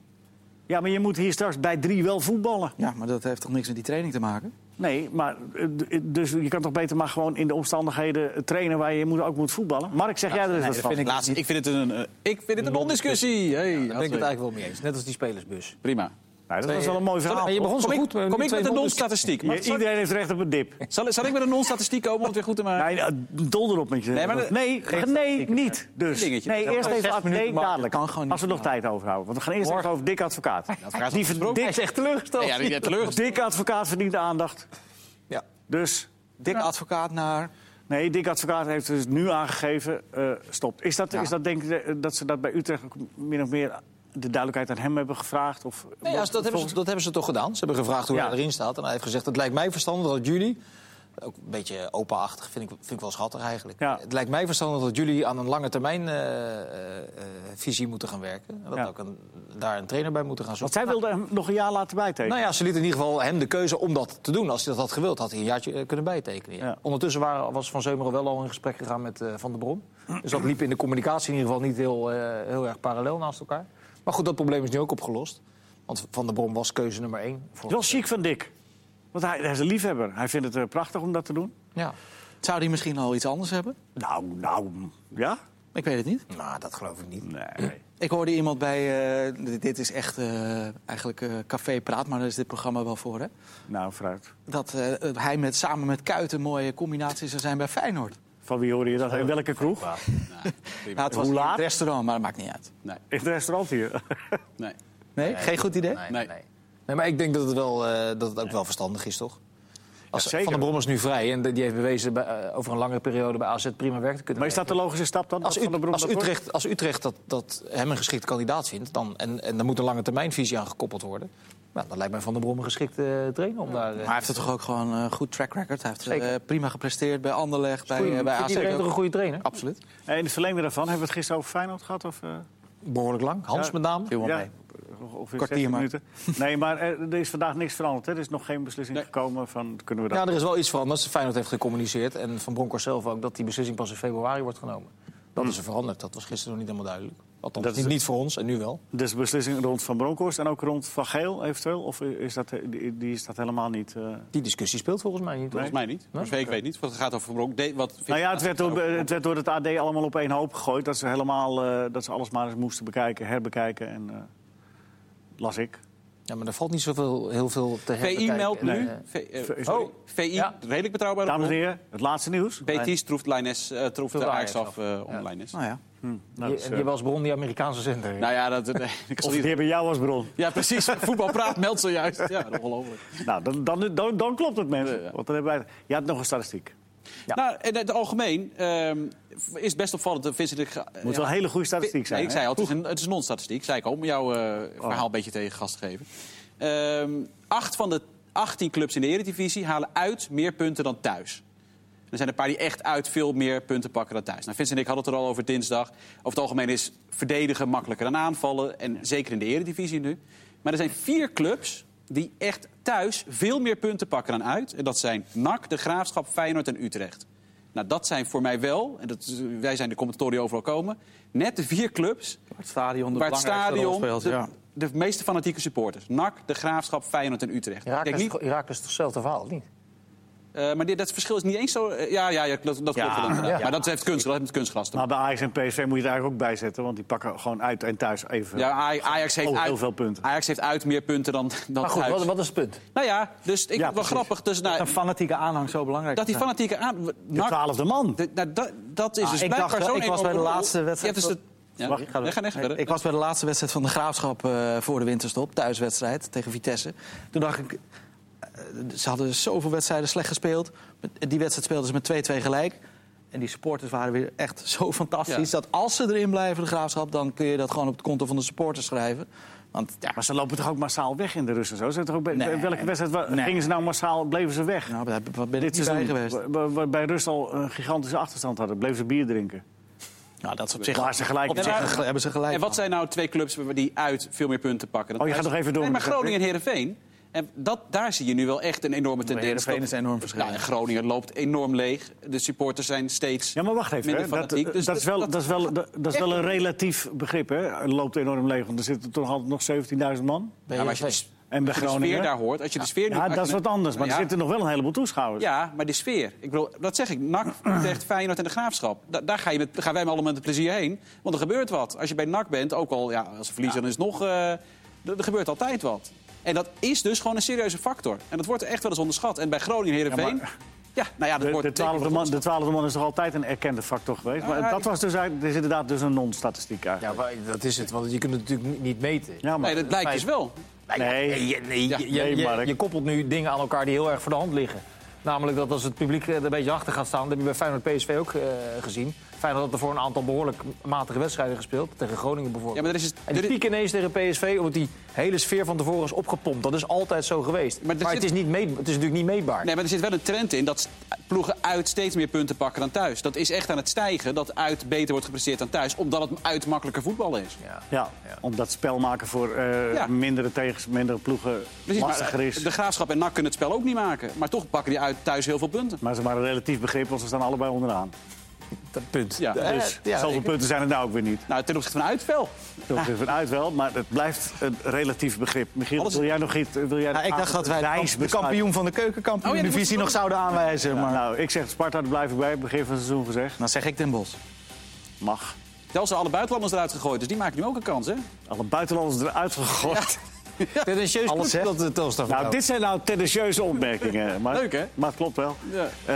Speaker 1: Ja, maar je moet hier straks bij drie wel voetballen.
Speaker 4: Ja, maar dat heeft toch niks met die training te maken?
Speaker 1: Nee, maar eh, d- dus je kan toch beter maar gewoon in de omstandigheden eh, trainen waar je moet, ook moet voetballen. Mark, zeg jij er eens wat van?
Speaker 3: ik, Laatst, ik vind het een, eh, ik vind het een non-discussie. Hey,
Speaker 2: Daar ben ik het eigenlijk wel mee eens. Net als die spelersbus.
Speaker 3: Prima.
Speaker 1: Nou, dat was wel een
Speaker 3: eh,
Speaker 1: mooi verhaal.
Speaker 2: Maar je begon zo
Speaker 3: Kom ik,
Speaker 2: goed. maar nu
Speaker 3: kom ik
Speaker 2: twee
Speaker 3: met een
Speaker 2: rondes-
Speaker 3: non-statistiek.
Speaker 1: Je-
Speaker 3: Maar zal, Eh. ik-
Speaker 1: iedereen heeft recht op een dip.
Speaker 3: zal, ik- zal ik met een non-statistiek komen om het weer goed te maken?
Speaker 1: Nee, eh, dol erop met je.
Speaker 3: Nee, maar dat-
Speaker 1: nee,
Speaker 3: geen
Speaker 1: nee niet. Dus.
Speaker 3: Dingetje.
Speaker 1: Nee, eerst even ad- nee,
Speaker 4: Mark,
Speaker 1: dadelijk.
Speaker 4: kan gewoon niet.
Speaker 1: Als we nog tijd overhouden. Want we gaan eerst even over Dick Advocaat.
Speaker 3: advocaat
Speaker 1: Die
Speaker 3: is
Speaker 1: verd-
Speaker 3: afgesproken.
Speaker 1: Dick-
Speaker 2: Hij is echt teleurgesteld.
Speaker 3: Nee, ja, die werd teleurgesteld.
Speaker 1: Dick Advocaat verdient aandacht.
Speaker 2: Ja.
Speaker 1: Dus.
Speaker 4: Dik advocaat naar.
Speaker 1: Nee, Dick Advocaat heeft dus nu aangegeven, eh stopt. Is dat, is dat denk je eh, dat ze dat bij Utrecht ook min of meer de duidelijkheid aan hem hebben gevraagd? Of,
Speaker 2: Nee, als, dat, hebben ze, dat hebben ze toch gedaan? Ze hebben gevraagd hoe
Speaker 1: Ja.
Speaker 2: hij erin staat. En hij heeft gezegd, het lijkt mij verstandig dat jullie... Ook een beetje opa-achtig, vind ik, vind ik wel schattig eigenlijk.
Speaker 1: Ja.
Speaker 2: Het lijkt mij verstandig dat jullie aan een lange termijn eh, eh, eh, visie moeten gaan werken. En dat
Speaker 1: Ja.
Speaker 2: ook een, daar een trainer bij moeten gaan
Speaker 1: Want
Speaker 2: zoeken.
Speaker 1: zij wilde hem nog een jaar laten bijtekenen.
Speaker 2: Nou ja, ze lieten in ieder geval hem de keuze om dat te doen. Als hij dat had gewild, had hij een jaartje eh, kunnen bijtekenen. ja.
Speaker 1: Ja.
Speaker 2: Ondertussen waren, was Van Zeumeren wel al in gesprek gegaan met eh, Van der Brom. Dus dat liep in de communicatie in ieder geval niet heel, eh, heel erg parallel naast elkaar. Maar goed, dat probleem is nu ook opgelost. Want Van der Brom was keuze nummer één. Voor...
Speaker 1: Het is Wel chic van Dick. Want hij, hij is een liefhebber. Hij vindt het eh, prachtig om dat te doen.
Speaker 2: Ja.
Speaker 4: Zou die misschien al iets anders hebben?
Speaker 1: Nou, nou, ja?
Speaker 4: Ik weet het niet.
Speaker 2: Nou, dat geloof ik niet.
Speaker 1: Nee.
Speaker 4: Ik hoorde iemand bij, eh, dit- dit is echt eh, eigenlijk eh, café praat, maar daar is dit programma wel voor. Hè?
Speaker 1: Nou, vooruit.
Speaker 4: Dat eh, hij met, samen met Kuit een mooie combinatie zou zijn bij Feyenoord.
Speaker 1: Van wie hoorde je dat? In welke kroeg?
Speaker 4: Nou, het was
Speaker 1: Hoe
Speaker 4: in
Speaker 1: laat?
Speaker 4: het restaurant, maar dat maakt niet uit.
Speaker 3: Nee,
Speaker 1: In het restaurant hier.
Speaker 3: nee.
Speaker 4: Nee, geen goed idee?
Speaker 2: Nee,
Speaker 3: Nee.
Speaker 2: nee. nee, maar ik denk dat het, wel, eh, dat het ook wel verstandig is, toch? Als
Speaker 1: zeker.
Speaker 2: Van der Brom is nu vrij en die heeft bewezen bij, eh, over een langere periode bij AZ prima werk te kunnen
Speaker 1: Maar is dat de logische stap dan?
Speaker 2: Als,
Speaker 1: Dat Van der
Speaker 2: Ut-
Speaker 1: Brom
Speaker 2: als
Speaker 1: dat wordt?
Speaker 2: Utrecht, als Utrecht dat, dat hem een geschikte kandidaat vindt, dan, en, en daar moet een lange termijnvisie aan gekoppeld worden. Nou, dan lijkt mij Van der Brom een geschikte eh, trainer om daar. eh,
Speaker 4: Maar hij heeft er toch ook gewoon een goed track record. Hij heeft
Speaker 2: Zeker.
Speaker 4: eh, prima gepresteerd bij Anderlecht, bij, eh, bij
Speaker 2: vindt
Speaker 4: AZ.
Speaker 2: iedereen
Speaker 4: ook.
Speaker 2: toch een goede trainer?
Speaker 4: Absoluut.
Speaker 1: Eh, In het verlengde daarvan, hebben we het gisteren over Feyenoord gehad? Of, eh,
Speaker 2: Behoorlijk lang. Hans
Speaker 1: Ja.
Speaker 2: met name.
Speaker 4: Viel wel
Speaker 1: ja,
Speaker 4: mee.
Speaker 1: ongeveer
Speaker 4: Kwartier
Speaker 1: 60
Speaker 4: maar.
Speaker 1: minuten. Nee, maar eh, er is vandaag niks veranderd. Hè? Er is nog geen beslissing gekomen van kunnen we dat...
Speaker 2: Ja, er is wel iets veranderd. Feyenoord heeft gecommuniceerd. En Van Bronckhorst zelf ook dat die beslissing pas in februari wordt genomen. Dat is er veranderd. Dat was gisteren nog niet helemaal duidelijk. Althans,
Speaker 1: Dat is
Speaker 2: niet,
Speaker 1: het.
Speaker 2: niet voor ons en nu wel.
Speaker 1: Dus de beslissing rond Van Bronckhorst en ook rond Van Geel eventueel? Of eh, is dat, die, die is dat helemaal niet... eh,
Speaker 2: Die discussie speelt volgens mij niet.
Speaker 3: volgens mij niet. Dus ik weet niet, want het gaat over Bronk. De- wat
Speaker 1: Nou ja, het werd, door, het werd door het AD allemaal op één hoop gegooid. Dat ze, helemaal, eh, dat ze alles maar eens moesten bekijken, herbekijken. En eh, las ik.
Speaker 2: Ja, maar er valt niet zoveel heel veel te
Speaker 3: VI
Speaker 2: herbekijken.
Speaker 3: meldt
Speaker 2: En,
Speaker 3: nu.
Speaker 2: eh,
Speaker 3: V- eh,
Speaker 1: Sorry.
Speaker 3: sorry.
Speaker 2: Oh.
Speaker 3: VI,
Speaker 2: Ja.
Speaker 3: redelijk betrouwbare
Speaker 1: Dames en
Speaker 3: bron.
Speaker 1: heren, het laatste nieuws.
Speaker 3: Betis troeft, Lines, eh, troeft
Speaker 2: Troeft
Speaker 3: de Ajax
Speaker 2: Ajax
Speaker 3: af eh online is.
Speaker 4: Nou ja.
Speaker 1: Nou,
Speaker 2: je,
Speaker 1: dat is,
Speaker 2: en je was bron die Amerikaanse zender.
Speaker 3: Nou ja, dat... eh, ik zal
Speaker 1: of
Speaker 3: niet-
Speaker 1: die bij jou als bron.
Speaker 3: ja, precies. Voetbal praat meldt zojuist. Ja, ongelooflijk.
Speaker 1: Nou, dan, dan, dan, dan klopt het, mensen. Want dan hebben wij... Je had nog een statistiek.
Speaker 2: Ja.
Speaker 3: Nou, in het algemeen ehm, is het best opvallend. dat Vincent, de Ga-
Speaker 1: Het moet
Speaker 3: ja,
Speaker 1: wel een hele goede
Speaker 3: Nee,
Speaker 1: statistiek zijn.
Speaker 3: ik
Speaker 1: hè? Oh.
Speaker 3: zei al, het is een, het is een non-statistiek, zei ik al, om jouw eh, verhaal een beetje tegen gas te geven. Ehm, acht van de 18 clubs in de Eredivisie halen uit meer punten dan thuis. Er zijn een paar die echt uit veel meer punten pakken dan thuis. Nou, Vince en ik hadden het er al over dinsdag. Over het algemeen is verdedigen makkelijker dan aanvallen. En zeker in de eredivisie nu. Maar er zijn vier clubs die echt thuis veel meer punten pakken dan uit. En dat zijn NAC, De Graafschap, Feyenoord en Utrecht. Nou, dat zijn voor mij wel, en dat, is- wij zijn de commentatoren die overal komen... net de vier clubs
Speaker 4: Het stadion de
Speaker 3: waar het
Speaker 4: belangrijkste rol
Speaker 3: stadion
Speaker 4: speelt,
Speaker 3: de, de
Speaker 4: ja.
Speaker 3: meeste fanatieke supporters... NAC, De Graafschap, Feyenoord en Utrecht. Ik denk
Speaker 2: Irak, is,
Speaker 3: niet,
Speaker 2: toch- Irak is toch hetzelfde verhaal, of niet?
Speaker 3: eh, maar dit, dat verschil is niet eens zo... eh, ja, ja, ja, dat, dat klopt wel inderdaad.
Speaker 2: ja.
Speaker 3: Maar dat heeft kunstgras, dat heeft met kunstgras te
Speaker 1: Maar bij Ajax en PSV moet je het eigenlijk ook bijzetten. Want die pakken gewoon uit en thuis even.
Speaker 3: Ja, Aj- Ajax heeft,
Speaker 1: Oh, heel
Speaker 3: uit,
Speaker 1: veel punten.
Speaker 3: Ajax heeft uit meer punten dan, dan
Speaker 2: Maar goed,
Speaker 3: thuis.
Speaker 2: wat, wat is het punt?
Speaker 3: Nou ja, dus ik
Speaker 1: Ja,
Speaker 3: wel
Speaker 1: precies.
Speaker 3: grappig. Dus, nou,
Speaker 4: Een fanatieke aanhang zo belangrijk.
Speaker 3: dat die
Speaker 4: te zijn.
Speaker 3: fanatieke aan...
Speaker 1: De
Speaker 3: NAC-
Speaker 1: twaalfde man.
Speaker 3: de- nou, dat, dat is
Speaker 4: Ah,
Speaker 3: dus
Speaker 4: ik
Speaker 3: blijkbaar
Speaker 4: dacht wel-
Speaker 3: zo'n
Speaker 4: ik was bij de
Speaker 3: enorme
Speaker 4: laatste
Speaker 3: rol.
Speaker 4: wedstrijd
Speaker 3: Ja, dus
Speaker 4: van-
Speaker 3: de- ja,
Speaker 1: Wacht, ik ga
Speaker 3: we gaan echt verder.
Speaker 4: Ik was bij de laatste wedstrijd van de Graafschap eh, voor de winterstop. Thuiswedstrijd tegen Vitesse. Toen dacht ik... eh, ze hadden zoveel wedstrijden slecht gespeeld. Met- eh, Die wedstrijd speelden ze met 2-2 gelijk. En die supporters waren weer echt zo fantastisch...
Speaker 3: Ja.
Speaker 4: dat als ze erin blijven, de Graafschap... dan kun je dat gewoon op het konto van de supporters schrijven. Want ja,
Speaker 1: Maar ze lopen toch ook massaal weg in de rust en zo? Ze zijn toch ook bij-
Speaker 4: Nee.
Speaker 1: bij Welke wedstrijd wa-
Speaker 4: Nee.
Speaker 1: gingen ze nou massaal, bleven ze weg?
Speaker 4: nou, daar ben ik
Speaker 1: Dit
Speaker 4: niet bij
Speaker 1: seizoen,
Speaker 4: geweest.
Speaker 1: wa- wa- wa- bij rust al een gigantische achterstand hadden, bleven ze bier drinken.
Speaker 4: Nou, dat is op zich...
Speaker 1: Waar ze gelijk
Speaker 4: Op zich
Speaker 3: maar-
Speaker 4: gel- hebben ze gelijk.
Speaker 3: En wat zijn nou twee clubs die uit veel meer punten pakken? dan
Speaker 1: Oh, je gaat
Speaker 3: thuis?
Speaker 1: nog even door
Speaker 3: Nee, maar
Speaker 1: met de-
Speaker 3: Groningen en Heerenveen. En dat, daar zie je nu wel echt een enorme tendens.
Speaker 4: Heerenveen is
Speaker 3: Dat-
Speaker 4: enorm verschil.
Speaker 3: Nou, en Groningen loopt enorm leeg. De supporters zijn steeds
Speaker 1: Ja, maar wacht even.
Speaker 3: minder
Speaker 1: Hè. Dat, eh,
Speaker 3: fanatiek. Dus
Speaker 1: dat, is wel, dat, is wel, dat, dat is wel
Speaker 3: echt-
Speaker 1: een relatief begrip, hè? Het loopt enorm leeg, want er zitten toch altijd nog 17.000 man.
Speaker 3: Ja, maar als je de-
Speaker 1: En bij
Speaker 3: als je Dus de sfeer daar
Speaker 1: Groningen.
Speaker 3: hoort, als je de sfeer nu-
Speaker 1: Ja,
Speaker 3: als
Speaker 1: dat is
Speaker 3: je-
Speaker 1: wat anders, maar
Speaker 3: Ja.
Speaker 1: er zitten nog wel een heleboel toeschouwers.
Speaker 3: Ja, maar de sfeer. Ik bedoel, dat zeg ik. NAC, Utrecht, Feyenoord en de Graafschap. Da- daar ga je met, gaan wij allemaal met plezier heen. Want er gebeurt wat. Als je bij NAC bent, ook al ja, als ze verliezen, dan is het nog... eh, d- er gebeurt altijd wat. En dat is dus gewoon een serieuze factor. En dat wordt echt wel eens onderschat. En bij Groningen en Heerenveen... Ja, nou ja, dat
Speaker 1: De,
Speaker 3: wordt...
Speaker 1: de, twaalfde man, de twaalfde man is toch altijd een erkende factor geweest? Maar
Speaker 3: Ja,
Speaker 1: dat was dus eigenlijk, dit is inderdaad dus een non-statistiek eigenlijk.
Speaker 2: Ja, maar dat is het, want je kunt het natuurlijk niet- niet meten. Nou,
Speaker 1: Ja, maar...
Speaker 3: Nee, dat blijkt dus wel.
Speaker 1: Nee.
Speaker 2: je- nee,
Speaker 1: Ja,
Speaker 2: je,
Speaker 1: nee,
Speaker 2: je-
Speaker 1: Mark.
Speaker 2: je koppelt nu dingen aan elkaar die heel erg voor de hand liggen. Namelijk dat als het publiek eh, er een beetje achter gaat staan... dat heb je bij Feyenoord PSV ook eh, gezien. Feyenoord had er voor een aantal behoorlijk matige wedstrijden gespeeld. Tegen Groningen
Speaker 3: Ja,
Speaker 2: bijvoorbeeld.
Speaker 3: maar er is...
Speaker 2: En die
Speaker 3: er is-
Speaker 2: piek ineens tegen PSV, omdat die hele sfeer van tevoren is opgepompt. Dat is altijd zo geweest.
Speaker 3: Maar
Speaker 2: Maar,
Speaker 3: er zit-
Speaker 2: het, is niet meet, het is natuurlijk niet meetbaar.
Speaker 3: Nee, maar er zit wel een trend in dat st- ploegen uit steeds meer punten pakken dan thuis. Dat is echt aan het stijgen, dat uit beter wordt gepresteerd dan thuis. Omdat het uit makkelijker voetbal is.
Speaker 2: Ja.
Speaker 1: Ja, omdat spel maken voor eh,
Speaker 3: Ja.
Speaker 1: mindere tegens, mindere ploegen
Speaker 3: Precies, maar
Speaker 1: lastiger is.
Speaker 3: De Graafschap en NAC kunnen het spel ook niet maken. Maar toch pakken die uit thuis heel veel punten.
Speaker 1: Maar ze waren relatief begrip, want ze staan allebei onderaan.
Speaker 2: Dat punt.
Speaker 3: Ja,
Speaker 2: Eh,
Speaker 1: Dus
Speaker 2: ja,
Speaker 1: zoveel
Speaker 2: ik-
Speaker 1: punten zijn het nou ook weer niet.
Speaker 3: Nou, ten opzichte van uitvel.
Speaker 1: Toch even vanuit wel, maar het blijft een relatief begrip. Michiel,
Speaker 3: Alles-
Speaker 1: wil jij nog iets? Wil jij
Speaker 4: Ja, ik dacht dat wij de
Speaker 1: Dijs
Speaker 4: kamp- de
Speaker 1: besluit-
Speaker 4: kampioen van de
Speaker 3: Oh
Speaker 4: keukenkampioen-divisie nog zouden aanwijzen.
Speaker 1: Ja,
Speaker 4: Maar
Speaker 1: nou, ik zeg Sparta, daar blijf ik bij. Begin van het seizoen gezegd.
Speaker 4: dan zeg ik Den Bos.
Speaker 1: Mag.
Speaker 3: Zelfs alle buitenlanders eruit gegooid, dus die maken nu ook een kans, hè?
Speaker 1: Alle buitenlanders eruit gegooid.
Speaker 2: Tendentieus
Speaker 4: Alles
Speaker 2: goed
Speaker 4: zegt.
Speaker 2: dat de
Speaker 1: Nou,
Speaker 2: Telstar vertrouwt.
Speaker 1: dit zijn nou tendentieuze opmerkingen. Maar,
Speaker 3: Leuk, hè?
Speaker 1: Maar het klopt wel.
Speaker 3: Ja.
Speaker 1: Eh,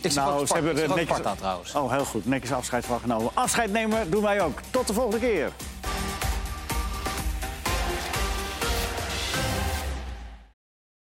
Speaker 2: Ik zag ook
Speaker 1: nou, ze
Speaker 2: Sparta-
Speaker 1: hebben
Speaker 2: ik
Speaker 1: er
Speaker 2: zag ook
Speaker 1: netjes...
Speaker 2: Sparta trouwens.
Speaker 1: Oh, heel goed. Netjes afscheid van genomen. Afscheid nemen doen wij ook. Tot de volgende keer.